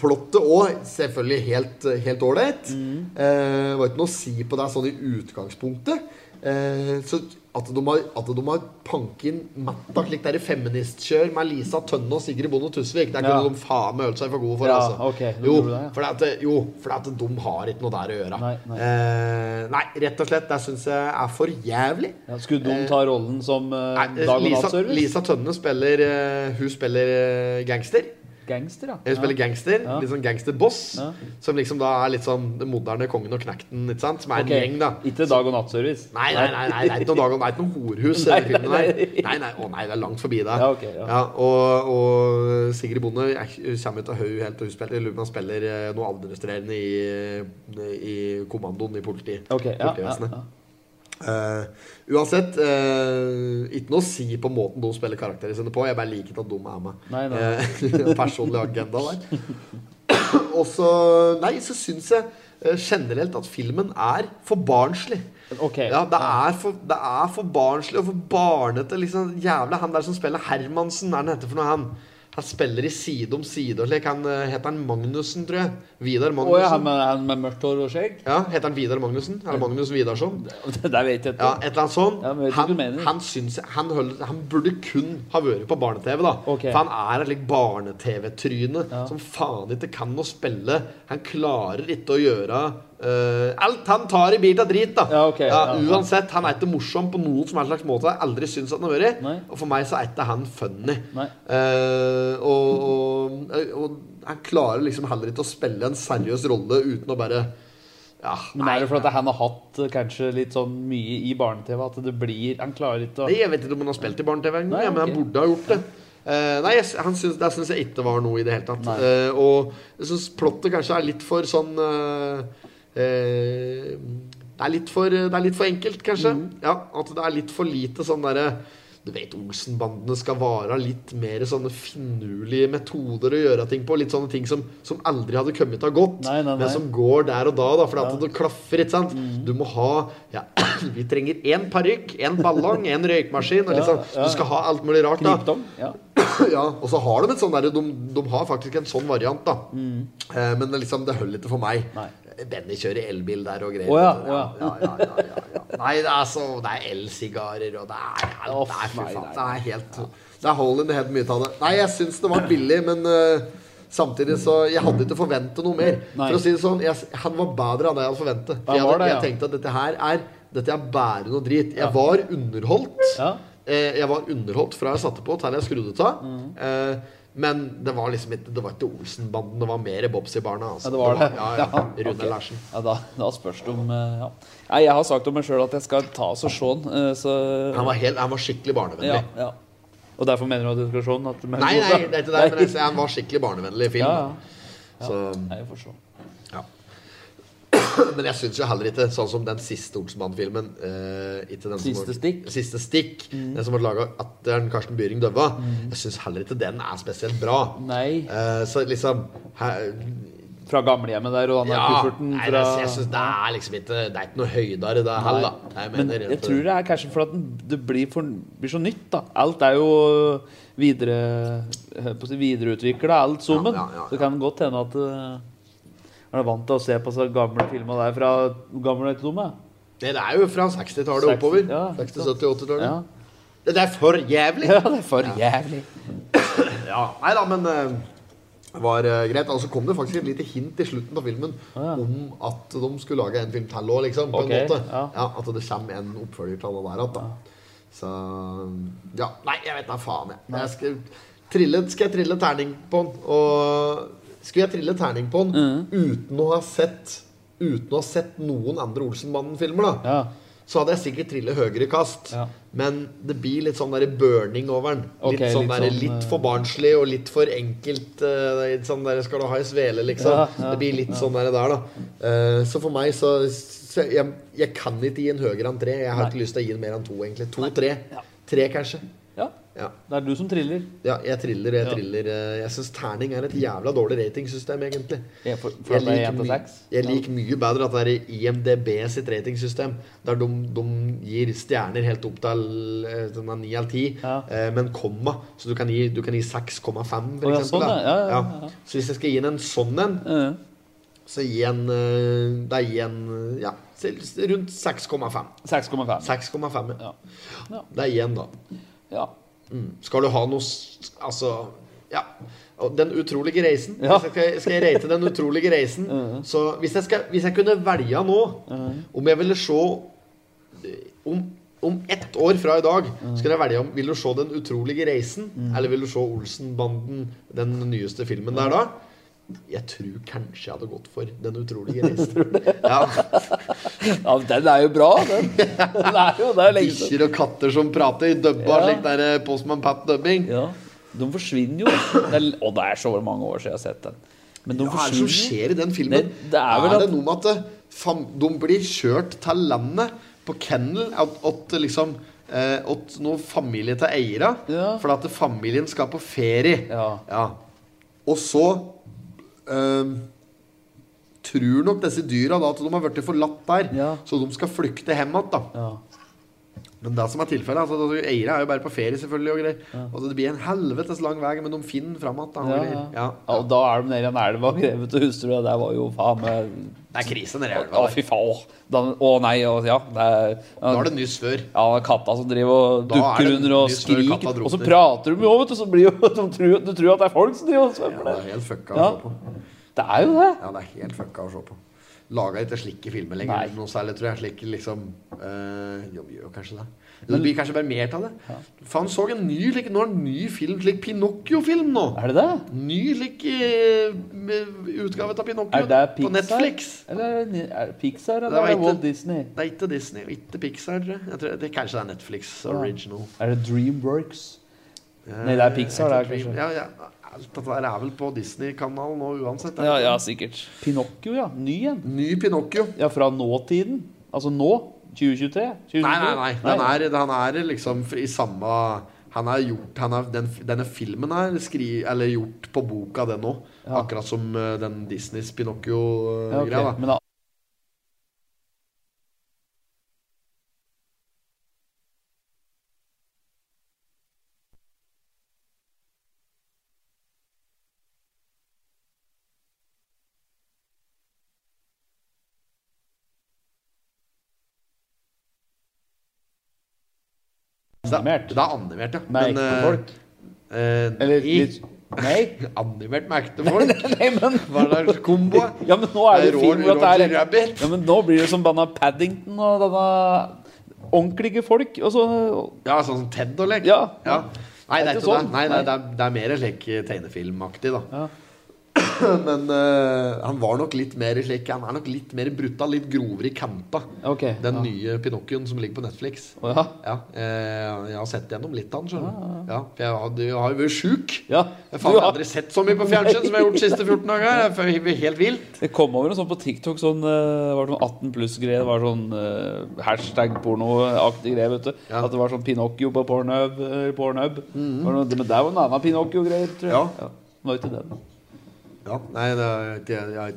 Speaker 1: Plottet òg selvfølgelig helt helt ålreit.
Speaker 2: Mm.
Speaker 1: Eh, det var ikke noe å si på det sånn i utgangspunktet. Eh, så at de har, at de har panket inn matta slik der i feministkjør med Lisa Tønne og Sigrid Bonde Tusvik, der kunne
Speaker 2: Ja.
Speaker 1: de faen meg holdt seg for gode for.
Speaker 2: Ja,
Speaker 1: altså.
Speaker 2: ok, nå
Speaker 1: jo,
Speaker 2: gjorde du det, ja.
Speaker 1: for at, eh, jo, for at de har ikke noe der å gjøre.
Speaker 2: Nei, nei.
Speaker 1: Eh, nei rett og slett. Det syns jeg er for jævlig.
Speaker 2: Ja, skulle de ta rollen som eh,
Speaker 1: Nei,
Speaker 2: dag- og
Speaker 1: Lisa,
Speaker 2: nattservice?
Speaker 1: Lisa Tønne spiller eh, Hun spiller eh, gangster.
Speaker 2: Gangster, ja.
Speaker 1: Hun spiller gangster,
Speaker 2: Ja.
Speaker 1: litt sånn gangsterboss.
Speaker 2: Ja.
Speaker 1: Som liksom da er litt sånn den moderne kongen og knekten, ikke sant? Som er en
Speaker 2: Ok,
Speaker 1: gjeng, da.
Speaker 2: Ikke dag- og nattservice?
Speaker 1: Nei, nei, nei, nei, det er ikke noe dag og natt, noe horhus. i
Speaker 2: Nei,
Speaker 1: den filmen
Speaker 2: nei,
Speaker 1: her.
Speaker 2: nei.
Speaker 1: Nei, nei, å nei, det er langt forbi det.
Speaker 2: Ja, ok, ja.
Speaker 1: og, og Sigrid Bonde er- kommer ut av høy helt, og hun spiller, eller hun spiller eh, noe administrerende i, i kommandoen i politiet.
Speaker 2: Ok, ja, ja,
Speaker 1: politivesenet.
Speaker 2: ja.
Speaker 1: Eh, uansett, eh, ikke noe å si på måten de spiller karakterene sine på. Jeg bare liker ikke at de er med.
Speaker 2: Nei, nei.
Speaker 1: Eh, personlig agenda der. Og så Nei, så syns jeg eh, generelt at filmen er for barnslig.
Speaker 2: Ok.
Speaker 1: Ja, det er, for, det er for barnslig og for barnete. Liksom, jævla Han der som spiller Hermansen, hva er det han heter for noe, han? Han spiller i Side om side og slik. Han eh, heter han Magnussen, tror jeg. Vidar
Speaker 2: Å ja,
Speaker 1: Magnussen.
Speaker 2: han med, han med mørkt hår og skjegg?
Speaker 1: Ja, heter han Vidar Magnussen? Eller Magnus Vidarsson?
Speaker 2: Det der vet jeg ikke.
Speaker 1: Ja, et eller annet sånt.
Speaker 2: Ja, men jeg vet ikke hva du
Speaker 1: han,
Speaker 2: mener.
Speaker 1: han, syns, han, hold- han burde kun ha vært på barne-TV, da.
Speaker 2: Ok.
Speaker 1: For han er et like, barne-TV-tryne
Speaker 2: Ja.
Speaker 1: som faen ikke kan å spille. Han klarer ikke å gjøre eh, alt han tar i bit av drit, da.
Speaker 2: Ja, ok, ja, ja.
Speaker 1: uansett, han er ikke morsom på noen som helst slags måte. Jeg har aldri syns at han har vært.
Speaker 2: Nei.
Speaker 1: Og for meg så er ikke han funny.
Speaker 2: Nei.
Speaker 1: Eh, og, og, og han klarer liksom heller ikke å spille en seriøs rolle uten å bare ja,
Speaker 2: Men er det fordi han har hatt eh, kanskje litt sånn mye i barne-TV at det blir Han klarer ikke å
Speaker 1: Nei, jeg vet ikke om han har spilt i barne-TV engang,
Speaker 2: Nei,
Speaker 1: ja, men han
Speaker 2: ok.
Speaker 1: burde ha gjort det. Eh, nei, jeg, han syns, der syns jeg ikke var noe i det hele tatt.
Speaker 2: Nei.
Speaker 1: Eh, og jeg syns plottet kanskje er litt for sånn eh, eh, det, er litt for, det er litt for enkelt, kanskje.
Speaker 2: Mm.
Speaker 1: Ja, At det er litt for lite sånn derre Du vet Olsen-bandene skal vare litt mer sånne finurlige metoder å gjøre ting på. Litt sånne ting som, som aldri hadde kommet av godt,
Speaker 2: Nei, nei, nei.
Speaker 1: men som går der og da. da fordi at det klaffer, ikke sant.
Speaker 2: Mm.
Speaker 1: Du må ha ja, Vi trenger én parykk, én ballong, én røykmaskin. Og
Speaker 2: Ja,
Speaker 1: liksom,
Speaker 2: ja.
Speaker 1: Du skal ha alt mulig rart. da
Speaker 2: knipe om. Ja.
Speaker 1: ja, og så har de et sånn der, de, de har faktisk en sånn variant, da. Eh, men det, liksom, det holder ikke for meg.
Speaker 2: Mm. Nei.
Speaker 1: Benny kjører elbil der og greier.
Speaker 2: Å ja,
Speaker 1: ja, ja, ja, ja, ja, ja. Nei, det er så Det er elsigarer, og det er, det er,
Speaker 2: Å,
Speaker 1: det er, fy
Speaker 2: nei,
Speaker 1: faen,
Speaker 2: nei,
Speaker 1: det er helt Det er hold in the head mye av det. Nei, jeg syns det var billig, men eh, Samtidig så Jeg hadde ikke forventa noe mer.
Speaker 2: Nei.
Speaker 1: For å si det sånn, jeg, han var bedre enn det jeg hadde forventa.
Speaker 2: Han
Speaker 1: Jeg,
Speaker 2: var
Speaker 1: hadde-
Speaker 2: det,
Speaker 1: jeg
Speaker 2: ja.
Speaker 1: tenkte at dette her er Dette er bare noe drit. Jeg var underholdt.
Speaker 2: Ja. Mm.
Speaker 1: Eh, Jeg var underholdt fra jeg satte på til jeg skrudde av. Eh, Men det var liksom ikke Det var ikke Olsenbanden, det var mer Bobsy-barna. Altså.
Speaker 2: Ja, det var det.
Speaker 1: Ja, ja. Rune
Speaker 2: ok.
Speaker 1: Larsen.
Speaker 2: Ja, da, da spørs det om eh, ja. Nei, jeg har sagt om meg sjøl at jeg skal ta oss og se den, eh, så
Speaker 1: Han var, helt, han var skikkelig barnevennlig.
Speaker 2: ja, ja. Og derfor mener du at du skal se den? At
Speaker 1: Nei, nei, det er ikke det, men jeg, sier han var skikkelig barnevennlig film.
Speaker 2: Ja,
Speaker 1: da.
Speaker 2: ja.
Speaker 1: Så,
Speaker 2: Nei, jeg forstår.
Speaker 1: ja. Men jeg syns jo heller ikke, sånn som den siste Olsenband-filmen eh, ikke den som
Speaker 2: Siste
Speaker 1: var-
Speaker 2: stikk? Mm.
Speaker 1: Siste stikk Den som ble laga etter den Karsten Byring døde. Jeg syns heller ikke den er spesielt bra.
Speaker 2: Nei.
Speaker 1: Eh, så liksom her,
Speaker 2: Fra gamlehjemmet der og han der kufferten
Speaker 1: nei,
Speaker 2: fra
Speaker 1: det- jeg synes det er liksom ikke Det er ikke noe høydere, det
Speaker 2: Nei.
Speaker 1: heller. da. Jeg
Speaker 2: Men
Speaker 1: mener
Speaker 2: jeg
Speaker 1: at-
Speaker 2: tror det er kanskje for at den- det blir, for, blir så nytt, da. Alt er jo videre videreutvikla, alt summen.
Speaker 1: Ja, ja, ja,
Speaker 2: Så det kan godt hende at eh, er du vant til å se på så gamle filmer der fra gamle til dumme?
Speaker 1: Nei, det er jo fra 60-tallet
Speaker 2: 60,
Speaker 1: oppover.
Speaker 2: ja,
Speaker 1: 60-, 70-, 80-tallet.
Speaker 2: Ja.
Speaker 1: Det er for jævlig!
Speaker 2: ja, det er for jævlig.
Speaker 1: Ja, Nei da, men eh, var eh, greit. Og så kom det faktisk et lite hint i slutten av filmen om at de skulle lage en film til òg, liksom. På
Speaker 2: Ok,
Speaker 1: en måte.
Speaker 2: ja.
Speaker 1: at det kommer en oppfølger til det der igjen, da. Så Ja. Nei, jeg vet da faen, jeg. jeg skal, trille, skal jeg trille terning på den? Og skulle jeg trille terning på den
Speaker 2: Mm.
Speaker 1: uten å ha sett Uten å ha sett noen andre Olsenbanden-filmer, da?
Speaker 2: Ja.
Speaker 1: Så hadde jeg sikkert trillet høyere kast.
Speaker 2: Ja.
Speaker 1: Men det blir litt sånn der burning over den.
Speaker 2: Ok,
Speaker 1: litt sånn
Speaker 2: litt
Speaker 1: der,
Speaker 2: sånn,
Speaker 1: litt
Speaker 2: eh,
Speaker 1: for barnslig og litt for enkelt. eh, litt sånn der, skal du ha i svele, liksom?
Speaker 2: Ja, ja,
Speaker 1: det blir litt sånn der, der da. Eh, så for meg så, så jeg, jeg kan ikke gi en høyere enn tre. Jeg har ikke lyst til å gi den mer enn to, egentlig. To-tre. Tre, kanskje.
Speaker 2: ja.
Speaker 1: Ja.
Speaker 2: Det er du som triller.
Speaker 1: ja, jeg triller, jeg
Speaker 2: Ja.
Speaker 1: triller. eh, Jeg syns terning er et jævla dårlig ratingsystem, egentlig.
Speaker 2: Jeg, for, for
Speaker 1: Jeg
Speaker 2: at det er
Speaker 1: liker,
Speaker 2: en til
Speaker 1: my
Speaker 2: seks.
Speaker 1: jeg liker mye bedre at det er IMDb sitt ratingsystem, der de, de gir stjerner helt opp til eh, sånn av 9 eller 10,
Speaker 2: Ja.
Speaker 1: eh, men komma. Så du kan gi, du kan gi 6,5, for
Speaker 2: Å, ja,
Speaker 1: eksempel.
Speaker 2: sånn,
Speaker 1: da.
Speaker 2: ja, ja, ja, ja.
Speaker 1: Så hvis jeg skal gi en en sånn en,
Speaker 2: Ja.
Speaker 1: så gi en eh, Da gi en eh, ja, se- rundt 6,5.
Speaker 2: 6,5.
Speaker 1: 6,5, ja.
Speaker 2: Ja. Ja.
Speaker 1: Det er igjen, da.
Speaker 2: Ja.
Speaker 1: Mm. Skal du ha noe s- Altså, ja. Og Den utrolige reisen.
Speaker 2: Ja.
Speaker 1: Hvis jeg skal, skal jeg rate Den utrolige reisen, så hvis jeg, skal, hvis jeg kunne velge nå om jeg ville se om, om ett år fra i dag, så kan jeg velge om Vil du se Den utrolige reisen,
Speaker 2: Mm.
Speaker 1: eller vil du se Olsenbanden, den nyeste filmen der da? Jeg tror kanskje jeg hadde gått for Den utrolige reisen. Ja,
Speaker 2: ja, men den er jo bra, den. Den er jo det. er lenge siden.
Speaker 1: Bikkjer og katter som prater i dubba,
Speaker 2: Ja.
Speaker 1: slik der eh, Postman Pat-dubbing.
Speaker 2: Ja. De forsvinner jo. Det er, og det er så mange år siden jeg har sett den. Men de
Speaker 1: Hva er det som
Speaker 2: forsvinner.
Speaker 1: skjer i den filmen?
Speaker 2: Det- det er vel at-
Speaker 1: det noe med at eh, fam, de blir kjørt til landet på kennel at, at liksom eh, at noen familie til eiere
Speaker 2: Ja.
Speaker 1: For at familien skal på ferie.
Speaker 2: Ja.
Speaker 1: Og så eh, tror nok disse dyra da at de har blitt forlatt der,
Speaker 2: Ja.
Speaker 1: så de skal flykte hjem igjen. da.
Speaker 2: Ja.
Speaker 1: Men det som er tilfellet, altså, altså, eiere er jo bare på ferie, selvfølgelig. og greier. Altså, Det blir en helvetes lang vei, men de finner fram igjen.
Speaker 2: Ja,
Speaker 1: Ja,
Speaker 2: ja.
Speaker 1: ja.
Speaker 2: Ja, og da er de nede i en elv og grevet og hustru, og det var jo faen meg
Speaker 1: Det er krise nedi
Speaker 2: Å, fy faen. Da- Å nei, og ja. Det er,
Speaker 1: Da er det nyss før.
Speaker 2: ja, katta som driver og
Speaker 1: Da er
Speaker 2: dukker
Speaker 1: det
Speaker 2: under og
Speaker 1: mye større
Speaker 2: skriker.
Speaker 1: katta drukner.
Speaker 2: Og så prater de jo, vet du, så blir jo de tror, Du tror at det er folk som driver og svømmer
Speaker 1: Ja, det
Speaker 2: der.
Speaker 1: er helt fucka
Speaker 2: Ja.
Speaker 1: å se på.
Speaker 2: Det er jo det.
Speaker 1: Ja, det er helt fucka å se på. Laga ikke slike filmer lenger.
Speaker 2: Nei.
Speaker 1: Noe særlig, tror jeg. Slik liksom eh, Jo, vi gjør kanskje det. Det blir kanskje bare mer av det. Faen, så en ny like, Nå er det en ny film, slik Pinocchio-film nå.
Speaker 2: Er det det?
Speaker 1: Ny slik eh, med utgave av Pinocchio
Speaker 2: Er det
Speaker 1: på
Speaker 2: Pixar?
Speaker 1: Netflix.
Speaker 2: Eller er det- er det Pixar
Speaker 1: Det
Speaker 2: eller
Speaker 1: var
Speaker 2: er det
Speaker 1: ikke-
Speaker 2: Walt Disney?
Speaker 1: Det er ikke Disney og ikke Pixar, tror jeg. jeg tror, det, kanskje det er Netflix original.
Speaker 2: Er det Dreamworks? Nei, det er Pixar, det er
Speaker 1: Jeg tror-
Speaker 2: kanskje.
Speaker 1: Ja, ja. Alt dette der er vel på Disney-kanalen nå uansett. er det
Speaker 2: Ja,
Speaker 1: ikke
Speaker 2: ja,
Speaker 1: det?
Speaker 2: sikkert. Pinocchio, ja. Ny en.
Speaker 1: Ny Pinocchio.
Speaker 2: Ja, fra nåtiden. Altså nå. 2023.
Speaker 1: Nei,
Speaker 2: 2023.
Speaker 1: nei, nei. Den er, den er liksom i samme han er gjort, han er, den, Denne filmen er skri, eller gjort på boka, den òg.
Speaker 2: Ja.
Speaker 1: Akkurat som eh, den Disneys
Speaker 2: Ja, ok.
Speaker 1: Pinocchio-greia. da.
Speaker 2: Men da,
Speaker 1: Så det,
Speaker 2: Animert.
Speaker 1: er- det er animert, ja.
Speaker 2: Nei, ekte
Speaker 1: eh,
Speaker 2: folk.
Speaker 1: eh,
Speaker 2: Eller
Speaker 1: nei.
Speaker 2: litt Nei?
Speaker 1: Animert med ekte folk?
Speaker 2: Nei, men
Speaker 1: Hva slags kombo?
Speaker 2: Ja, men nå er det
Speaker 1: Nei,
Speaker 2: film
Speaker 1: Roger-
Speaker 2: at det er
Speaker 1: Roger Rabbit.
Speaker 2: Ja, men nå blir det som banna Paddington og denne ordentlige folk og så
Speaker 1: Ja, sånn som Ted og lek?
Speaker 2: Ja.
Speaker 1: ja. Nei, det er
Speaker 2: ikke
Speaker 1: ikke det.
Speaker 2: sånn.
Speaker 1: Nei, nei, det, er, det er mer slik tegnefilmaktig, da.
Speaker 2: Ja.
Speaker 1: Men eh, han var nok litt mer slik Han er nok litt mer brutal, litt grovere i campa.
Speaker 2: Ok.
Speaker 1: Den
Speaker 2: ja.
Speaker 1: nye Pinocchioen som ligger på Netflix.
Speaker 2: Å, ja.
Speaker 1: Ja, eh, jeg har sett gjennom litt av den, skjønner du. Ja, for jeg, hadde- jeg har jo vært sjuk.
Speaker 2: ja.
Speaker 1: Jeg faen, jeg
Speaker 2: Du
Speaker 1: har
Speaker 2: har,
Speaker 1: aldri sett så mye på fjernsyn som jeg har gjort de siste 14 dager. Jeg føler meg helt vill.
Speaker 2: det kom over en sånn på TikTok, sånn, eh, var det sånn 18 pluss-greie. Det var sånn eh, hashtag-porno-aktig greie, vet du.
Speaker 1: Ja. Mm.
Speaker 2: At det var sånn Pinocchio på Pornhub. eh, Pornhub. Det var noe- Men det var en annen Pinocchio-greier, tror jeg.
Speaker 1: Ja.
Speaker 2: Det var ikke den.
Speaker 1: Ja, nei, det er, ikke, jeg,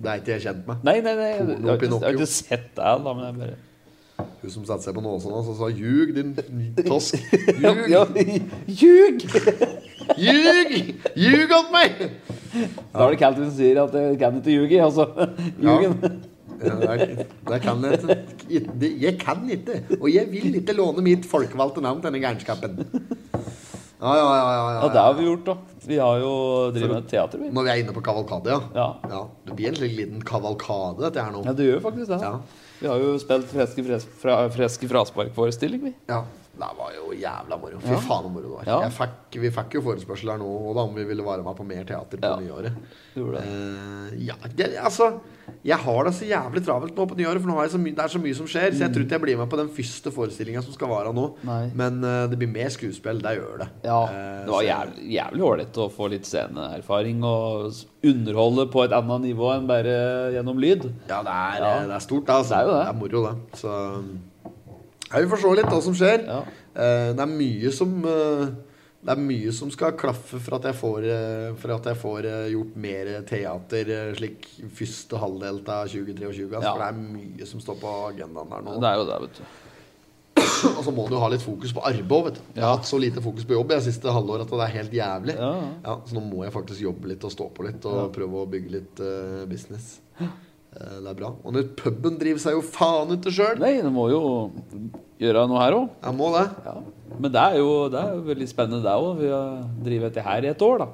Speaker 1: det er ikke jeg kjent med.
Speaker 2: Nei, nei, nei. Jeg,
Speaker 1: Porno
Speaker 2: har ikke- jeg har
Speaker 1: Pinocchio.
Speaker 2: ikke sett det, da, men jeg bare
Speaker 1: Hun som satte seg på nåsen hans og sa 'ljug, din tosk'.
Speaker 2: Ljug!
Speaker 1: Ljug!
Speaker 2: Ljug!
Speaker 1: Ljug! Ljug åt meg!
Speaker 2: Da er det Calvin som sier at jeg kan ikke ljuge. Altså, ljugen.
Speaker 1: Ja, det, det kan jeg ikke. Det- Jeg kan ikke, og jeg vil ikke låne mitt folkevalgte navn til denne gærenskapen. Ja, ja, ja. ja,
Speaker 2: Ja, det har vi gjort, da. Vi har jo drevet med teater, vi.
Speaker 1: Når vi er inne på kavalkade, ja.
Speaker 2: Ja.
Speaker 1: Det blir en slik liten kavalkade, dette her nå.
Speaker 2: Ja, det gjør faktisk det.
Speaker 1: Ja.
Speaker 2: Vi har jo spilt Freske, fres, fra, freske frasparkforestilling, vi.
Speaker 1: Ja, det var jo jævla moro. Fy
Speaker 2: Ja.
Speaker 1: faen hvor moro det var.
Speaker 2: Ja.
Speaker 1: Jeg fikk, vi fikk jo forespørsel her nå og da om vi ville være med på mer teater på
Speaker 2: Ja.
Speaker 1: nyåret.
Speaker 2: Vi gjorde det.
Speaker 1: Eh, ja, det, altså Jeg har det så jævlig travelt nå på nyåret, for nå har jeg så my det er så mye som skjer. Så jeg tror ikke jeg blir med på den første forestillinga som skal være nå.
Speaker 2: Mm. Nei.
Speaker 1: Men eh, det blir mer skuespill. Det gjør det.
Speaker 2: Ja,
Speaker 1: Eh,
Speaker 2: det var
Speaker 1: så-
Speaker 2: jævlig, jævlig ålreit å få litt sceneerfaring og s- underholde på et annet nivå enn bare gjennom lyd.
Speaker 1: Ja, det er,
Speaker 2: Ja.
Speaker 1: Det er stort, da, altså.
Speaker 2: Det er jo det.
Speaker 1: det er moro, det. Så ja, vi får se litt hva som skjer.
Speaker 2: Ja.
Speaker 1: Eh, det er mye som eh, Det er mye som skal klaffe for at jeg får, eh, for at jeg får eh, gjort mer teater eh, slik første halvdel av 2023. Altså,
Speaker 2: Ja.
Speaker 1: For det er mye som står på agendaen der nå.
Speaker 2: Det er jo det, vet du.
Speaker 1: Og så må du ha litt fokus på arbeid òg, vet du. Jeg har
Speaker 2: Ja.
Speaker 1: hatt så lite fokus på jobb jeg, siste halvår at det er helt jævlig.
Speaker 2: Ja, ja.
Speaker 1: så nå må jeg faktisk jobbe litt og stå på litt og prøve å bygge litt eh, business. Eh, det er bra. Og nå puben driver seg jo faen ut sjøl.
Speaker 2: Nei, det må jo gjøre noe her òg.
Speaker 1: Jeg må det.
Speaker 2: Ja. Men det er jo, det er jo veldig spennende, det òg. Vi har drevet dette her i et år, da.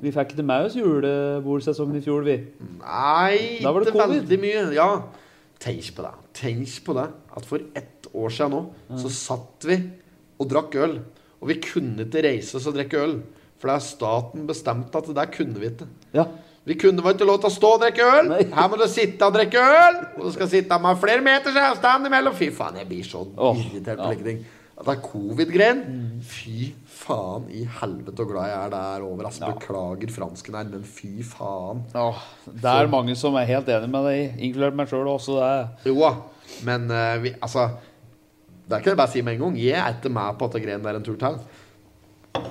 Speaker 2: Vi fikk ikke med oss julebordsesongen i fjor, vi.
Speaker 1: Nei,
Speaker 2: Da var det
Speaker 1: ikke
Speaker 2: covid.
Speaker 1: veldig mye. Ja. Tenk på det. Tenk på det. At for ett år siden nå, så satt vi og drakk øl. Og vi kunne ikke reise oss og drikke øl. For det er staten bestemte at det der kunne vi ikke.
Speaker 2: Ja.
Speaker 1: Vi kunne vel ikke lov til å stå og drikke øl?
Speaker 2: Nei.
Speaker 1: Her må du sitte og drikke øl! Og du skal sitte med flere meters avstand imellom. Fy faen, jeg blir så
Speaker 2: Åh,
Speaker 1: irritert på
Speaker 2: ja. Mm.
Speaker 1: slike ting. At det er covid-greien. Fy faen i helvete så glad jeg er der over. Altså,
Speaker 2: Ja.
Speaker 1: Beklager fransken her, men fy faen.
Speaker 2: det er mange som er helt enig med deg, inkludert meg sjøl også. Det er.
Speaker 1: Jo da, men eh, vi, altså Det kan jeg bare si med en gang. Jeg er ikke med på at det greien der en tur til.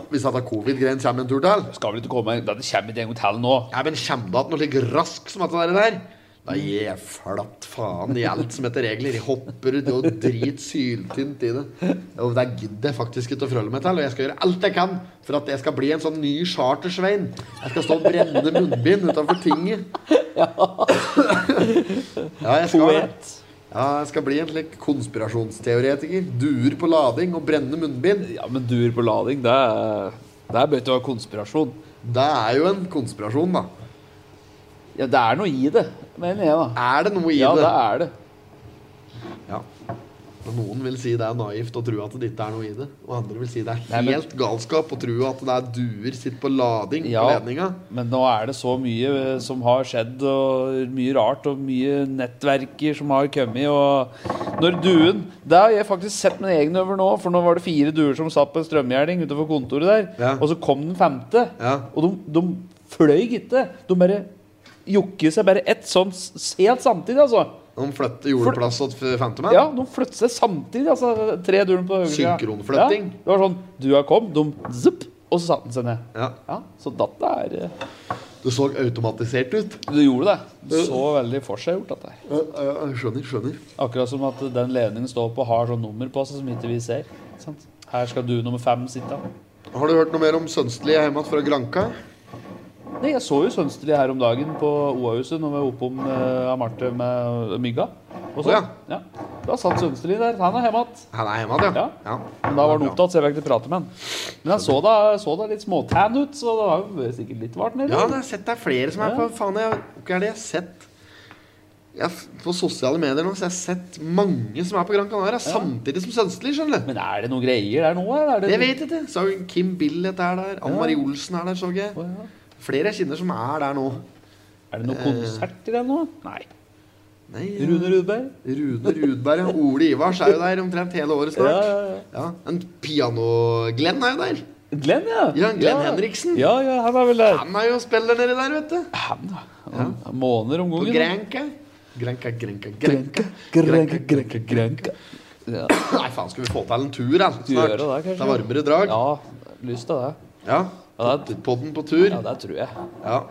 Speaker 1: Hvis at det er covid-greien kommer en tur til.
Speaker 2: Skal vel ikke komme Det kommer ikke en gang til nå.
Speaker 1: Ja, men kommer det att noe like rask som dette der? Da gir jeg flatt faen i alt som heter regler. Jeg hopper ut og driter syltynt i det. Og det gidder jeg faktisk ikke å forholde meg til. Og jeg skal gjøre alt jeg kan for at jeg skal bli en sånn ny chartersvein. Jeg skal stå og brenne munnbind utenfor tinget. Ja, jeg skal det.
Speaker 2: Poet.
Speaker 1: Ja, jeg skal bli en slik konspirasjonsteoretiker. Duer på lading og brenne munnbind.
Speaker 2: Ja, men duer på lading, det er det er bør ikke være konspirasjon.
Speaker 1: Det er jo en konspirasjon, da.
Speaker 2: Ja, det er noe i det, mener jeg, da.
Speaker 1: Er det noe i
Speaker 2: Ja,
Speaker 1: det?
Speaker 2: det er det.
Speaker 1: Ja. Og noen vil si det er naivt å tro at det ikke er noe i det. Og andre vil si det er helt
Speaker 2: Nei, men-
Speaker 1: galskap å tro at det er duer sitt på lading
Speaker 2: Ja.
Speaker 1: på ledninga.
Speaker 2: Men nå er det så mye eh, som har skjedd, og mye rart, og mye nettverker som har kommet, og når duen Det har jeg faktisk sett mine egne over nå, for nå var det fire duer som satt på en strømgjerding utenfor kontoret der,
Speaker 1: Ja.
Speaker 2: og så kom den femte,
Speaker 1: Ja.
Speaker 2: og de, de fløy ikke. De bare jokket seg bare ett sånn s- helt samtidig, altså.
Speaker 1: De flytter jordeplass og femtemann.
Speaker 2: Ja, de flyttet seg samtidig, altså. Tre duer på høyre siden.
Speaker 1: Synkronflytting.
Speaker 2: Ja, det var sånn Dua kom, de zup, og så satte den seg ned.
Speaker 1: Ja.
Speaker 2: Ja, så datta er eh,
Speaker 1: Det så automatisert ut.
Speaker 2: du gjorde det. Du så veldig forseggjort dette her.
Speaker 1: Ja, ja, ja, skjønner, skjønner.
Speaker 2: Akkurat som at den ledningen står på har sånn nummer på seg som ikke vi ser. Sant? Her skal du nummer fem sitte.
Speaker 1: Har du hørt noe mer om Sønstli hjemme fra Granka?
Speaker 2: Nei, jeg så jo Sønstli her om dagen på OA-huset når vi var oppom uh, Marte med mygga. Og
Speaker 1: Å,
Speaker 2: så,
Speaker 1: ja.
Speaker 2: ja. Da satt Sønstli der. Han er hjemme igjen.
Speaker 1: Han er hjemme igjen, ja.
Speaker 2: Ja. Men da var
Speaker 1: Bra.
Speaker 2: han opptatt, så jeg fikk ikke prate med han. Men han så da, så da litt småtan ut, så det har jo vært sikkert litt vart nedi.
Speaker 1: Ja, jeg har sett det er flere som er på Faen, jeg, hva er det jeg har sett? jeg, f- på sosiale medier nå, så jeg har sett mange som er på Gran Canaria, samtidig som Sønstli, skjønner du.
Speaker 2: Men er det noen greier der nå? Eller? Er det
Speaker 1: Det vet jeg ikke. Så er jo Kim Billett er der. Anne Marie Olsen er der, så jeg.
Speaker 2: Å, ja.
Speaker 1: Flere jeg kjenner som er der nå.
Speaker 2: Er det noen konserter der nå? Nei.
Speaker 1: Nei, ja.
Speaker 2: Rune Rudberg?
Speaker 1: Rune Rudberg ja. Ole Ivars er jo der omtrent hele året
Speaker 2: Ja,
Speaker 1: snart.
Speaker 2: ja,
Speaker 1: Ja, En piano-Glenn er jo der.
Speaker 2: ja. Glenn, ja.
Speaker 1: Ja, Glenn Henriksen.
Speaker 2: Ja, ja, han er vel der.
Speaker 1: Han er jo spiller nedi der, vet du.
Speaker 2: Han, da. Han- Måneder om
Speaker 1: På
Speaker 2: gangen. da.
Speaker 1: Granca. Granca, Granca, Granca.
Speaker 2: Grenke, grenke, grenke. Ja,
Speaker 1: Nei, faen, skal vi få til en tur da, snart?
Speaker 2: Gjøre det,
Speaker 1: det,
Speaker 2: kanskje.
Speaker 1: er varmere drag.
Speaker 2: ja lyst til det.
Speaker 1: Ja.
Speaker 2: Ja, det-
Speaker 1: Podden på tur.
Speaker 2: Ja, det tror jeg.
Speaker 1: Ja.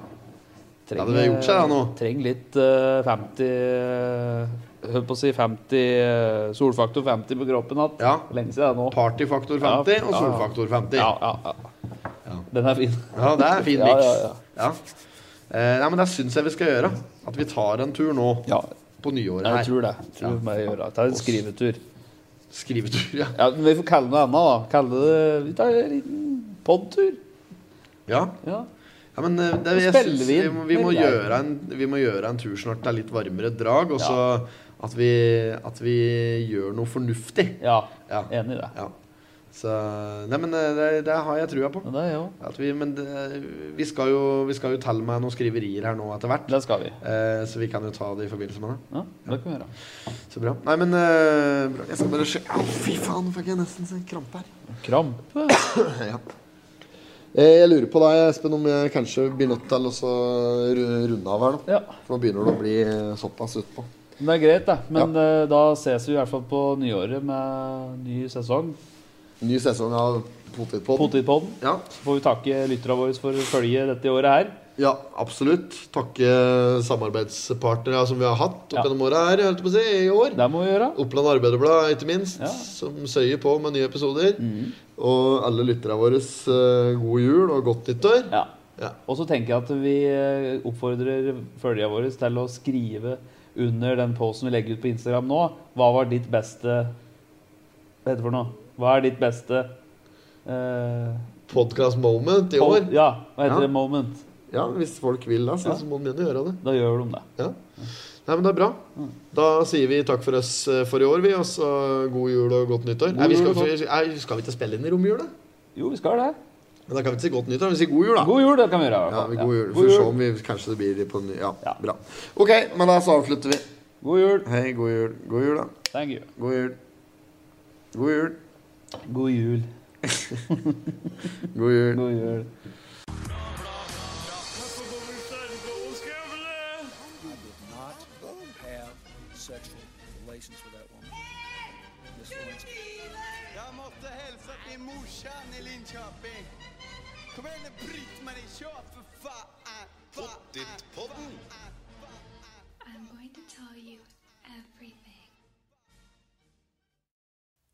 Speaker 1: Ja, det har gjort seg, da, nå.
Speaker 2: Trenger litt eh, 50 eh, Hørt på å si 50 eh, Solfaktor 50 på kroppen igjen.
Speaker 1: Ja.
Speaker 2: Lenge siden det er nå.
Speaker 1: Partyfaktor
Speaker 2: Ja,
Speaker 1: 50 og
Speaker 2: ja.
Speaker 1: solfaktor 50.
Speaker 2: Ja,
Speaker 1: Ja,
Speaker 2: ja, ja. Den er fin.
Speaker 1: det er en fin
Speaker 2: Ja,
Speaker 1: miks.
Speaker 2: ja, ja.
Speaker 1: Eh, nei, men det syns jeg vi skal gjøre. At vi tar en tur nå
Speaker 2: Ja,
Speaker 1: på nyåret
Speaker 2: jeg
Speaker 1: her.
Speaker 2: tror det. Tror
Speaker 1: Ja.
Speaker 2: vi må gjøre det. Ta en skrivetur.
Speaker 1: Skrivetur, ja.
Speaker 2: Ja, men Vi får kalle det noe annet, da. Kalle det Vi tar en liten podtur.
Speaker 1: ja.
Speaker 2: Ja.
Speaker 1: Ja, men eh, det,
Speaker 2: Så
Speaker 1: jeg
Speaker 2: spiller
Speaker 1: synes
Speaker 2: vi
Speaker 1: vi,
Speaker 2: inn.
Speaker 1: må- vi, må
Speaker 2: Det er greit.
Speaker 1: gjøre en, vi må gjøre en tur snart. Det er litt varmere drag. Og så at, vi, at vi gjør noe fornuftig.
Speaker 2: ja.
Speaker 1: Ja.
Speaker 2: Enig i det.
Speaker 1: ja. Så Nei, men eh, det, det har jeg trua på.
Speaker 2: Ja, det er jeg òg.
Speaker 1: At vi, men det, vi skal jo, vi skal jo telle med noen skriverier her nå etter hvert.
Speaker 2: Det skal vi.
Speaker 1: Eh, så vi kan jo ta det i forbindelse med det.
Speaker 2: Ja, det kan vi gjøre.
Speaker 1: Så bra. Nei, men eh, bra. Jeg skal bare se Au, fy faen, nå fikk jeg nesten en krampe her.
Speaker 2: Krampe?
Speaker 1: Ja. Eh, Jeg lurer på deg, Espen, om jeg kanskje blir nødt til å så ru- runde av her nå.
Speaker 2: Ja.
Speaker 1: For nå begynner det å bli eh, såpass utpå.
Speaker 2: Men Det er greit, det. Men eh, da ses vi i hvert fall på nyåret med ny sesong.
Speaker 1: Ny sesong av Potetpodden.
Speaker 2: Potetpodden.
Speaker 1: Ja.
Speaker 2: Så får vi takke lytterne våre for følget dette året her.
Speaker 1: ja, absolutt. Takke samarbeidspartnere som vi har hatt opp
Speaker 2: Ja.
Speaker 1: gjennom året her, holdt jeg på å si, i år.
Speaker 2: Det må vi gjøre.
Speaker 1: Oppland Arbeiderblad, ikke minst,
Speaker 2: Ja. Mhm.
Speaker 1: som søyer på med nye episoder. Og alle lytterne våre, eh, god jul og godt nyttår.
Speaker 2: Ja.
Speaker 1: Ja.
Speaker 2: Og så tenker jeg at vi eh, oppfordrer følgerne våre til å skrive under den posten vi legger ut på Instagram nå. Hva var ditt beste Hva heter det for noe? Hva er ditt beste eh,
Speaker 1: Podcast moment i
Speaker 2: pol-
Speaker 1: år.
Speaker 2: Ja, hva heter
Speaker 1: Ja.
Speaker 2: det? Moment.
Speaker 1: Ja, hvis folk vil det, så,
Speaker 2: Ja.
Speaker 1: så må de gjerne gjøre det.
Speaker 2: Da gjør de det.
Speaker 1: Ja. Nei, men det er bra.
Speaker 2: Mm.
Speaker 1: Da sier vi takk for oss eh, for i år, vi. Og så god jul og godt nyttår.
Speaker 2: God
Speaker 1: Nei, vi skal,
Speaker 2: jul og
Speaker 1: nei, skal vi ikke spille inn i romjula?
Speaker 2: Jo, vi skal det.
Speaker 1: Men da kan vi ikke si godt nyttår, vi sier god jul, da.
Speaker 2: God jul, det kan vi gjøre. i hvert
Speaker 1: Ja,
Speaker 2: fall.
Speaker 1: vi,
Speaker 2: Ja.
Speaker 1: god jul. Får vi se om vi kanskje det blir på ny... Ja,
Speaker 2: Ja.
Speaker 1: bra. Ok, men da så avslutter vi.
Speaker 2: God jul.
Speaker 1: Hei, god jul. God jul, da.
Speaker 2: Thank you.
Speaker 1: God jul. God jul.
Speaker 2: God jul.
Speaker 1: God jul.
Speaker 2: God
Speaker 7: You
Speaker 2: jul.
Speaker 7: did not have sexual relations with that woman. Miss Lewinsky.
Speaker 4: Jag måste hälsa till morsan i Linköping. Kom igen nu Britt-Marie, kör för fan! Pottit-podden!
Speaker 5: I'm going to tell you everything.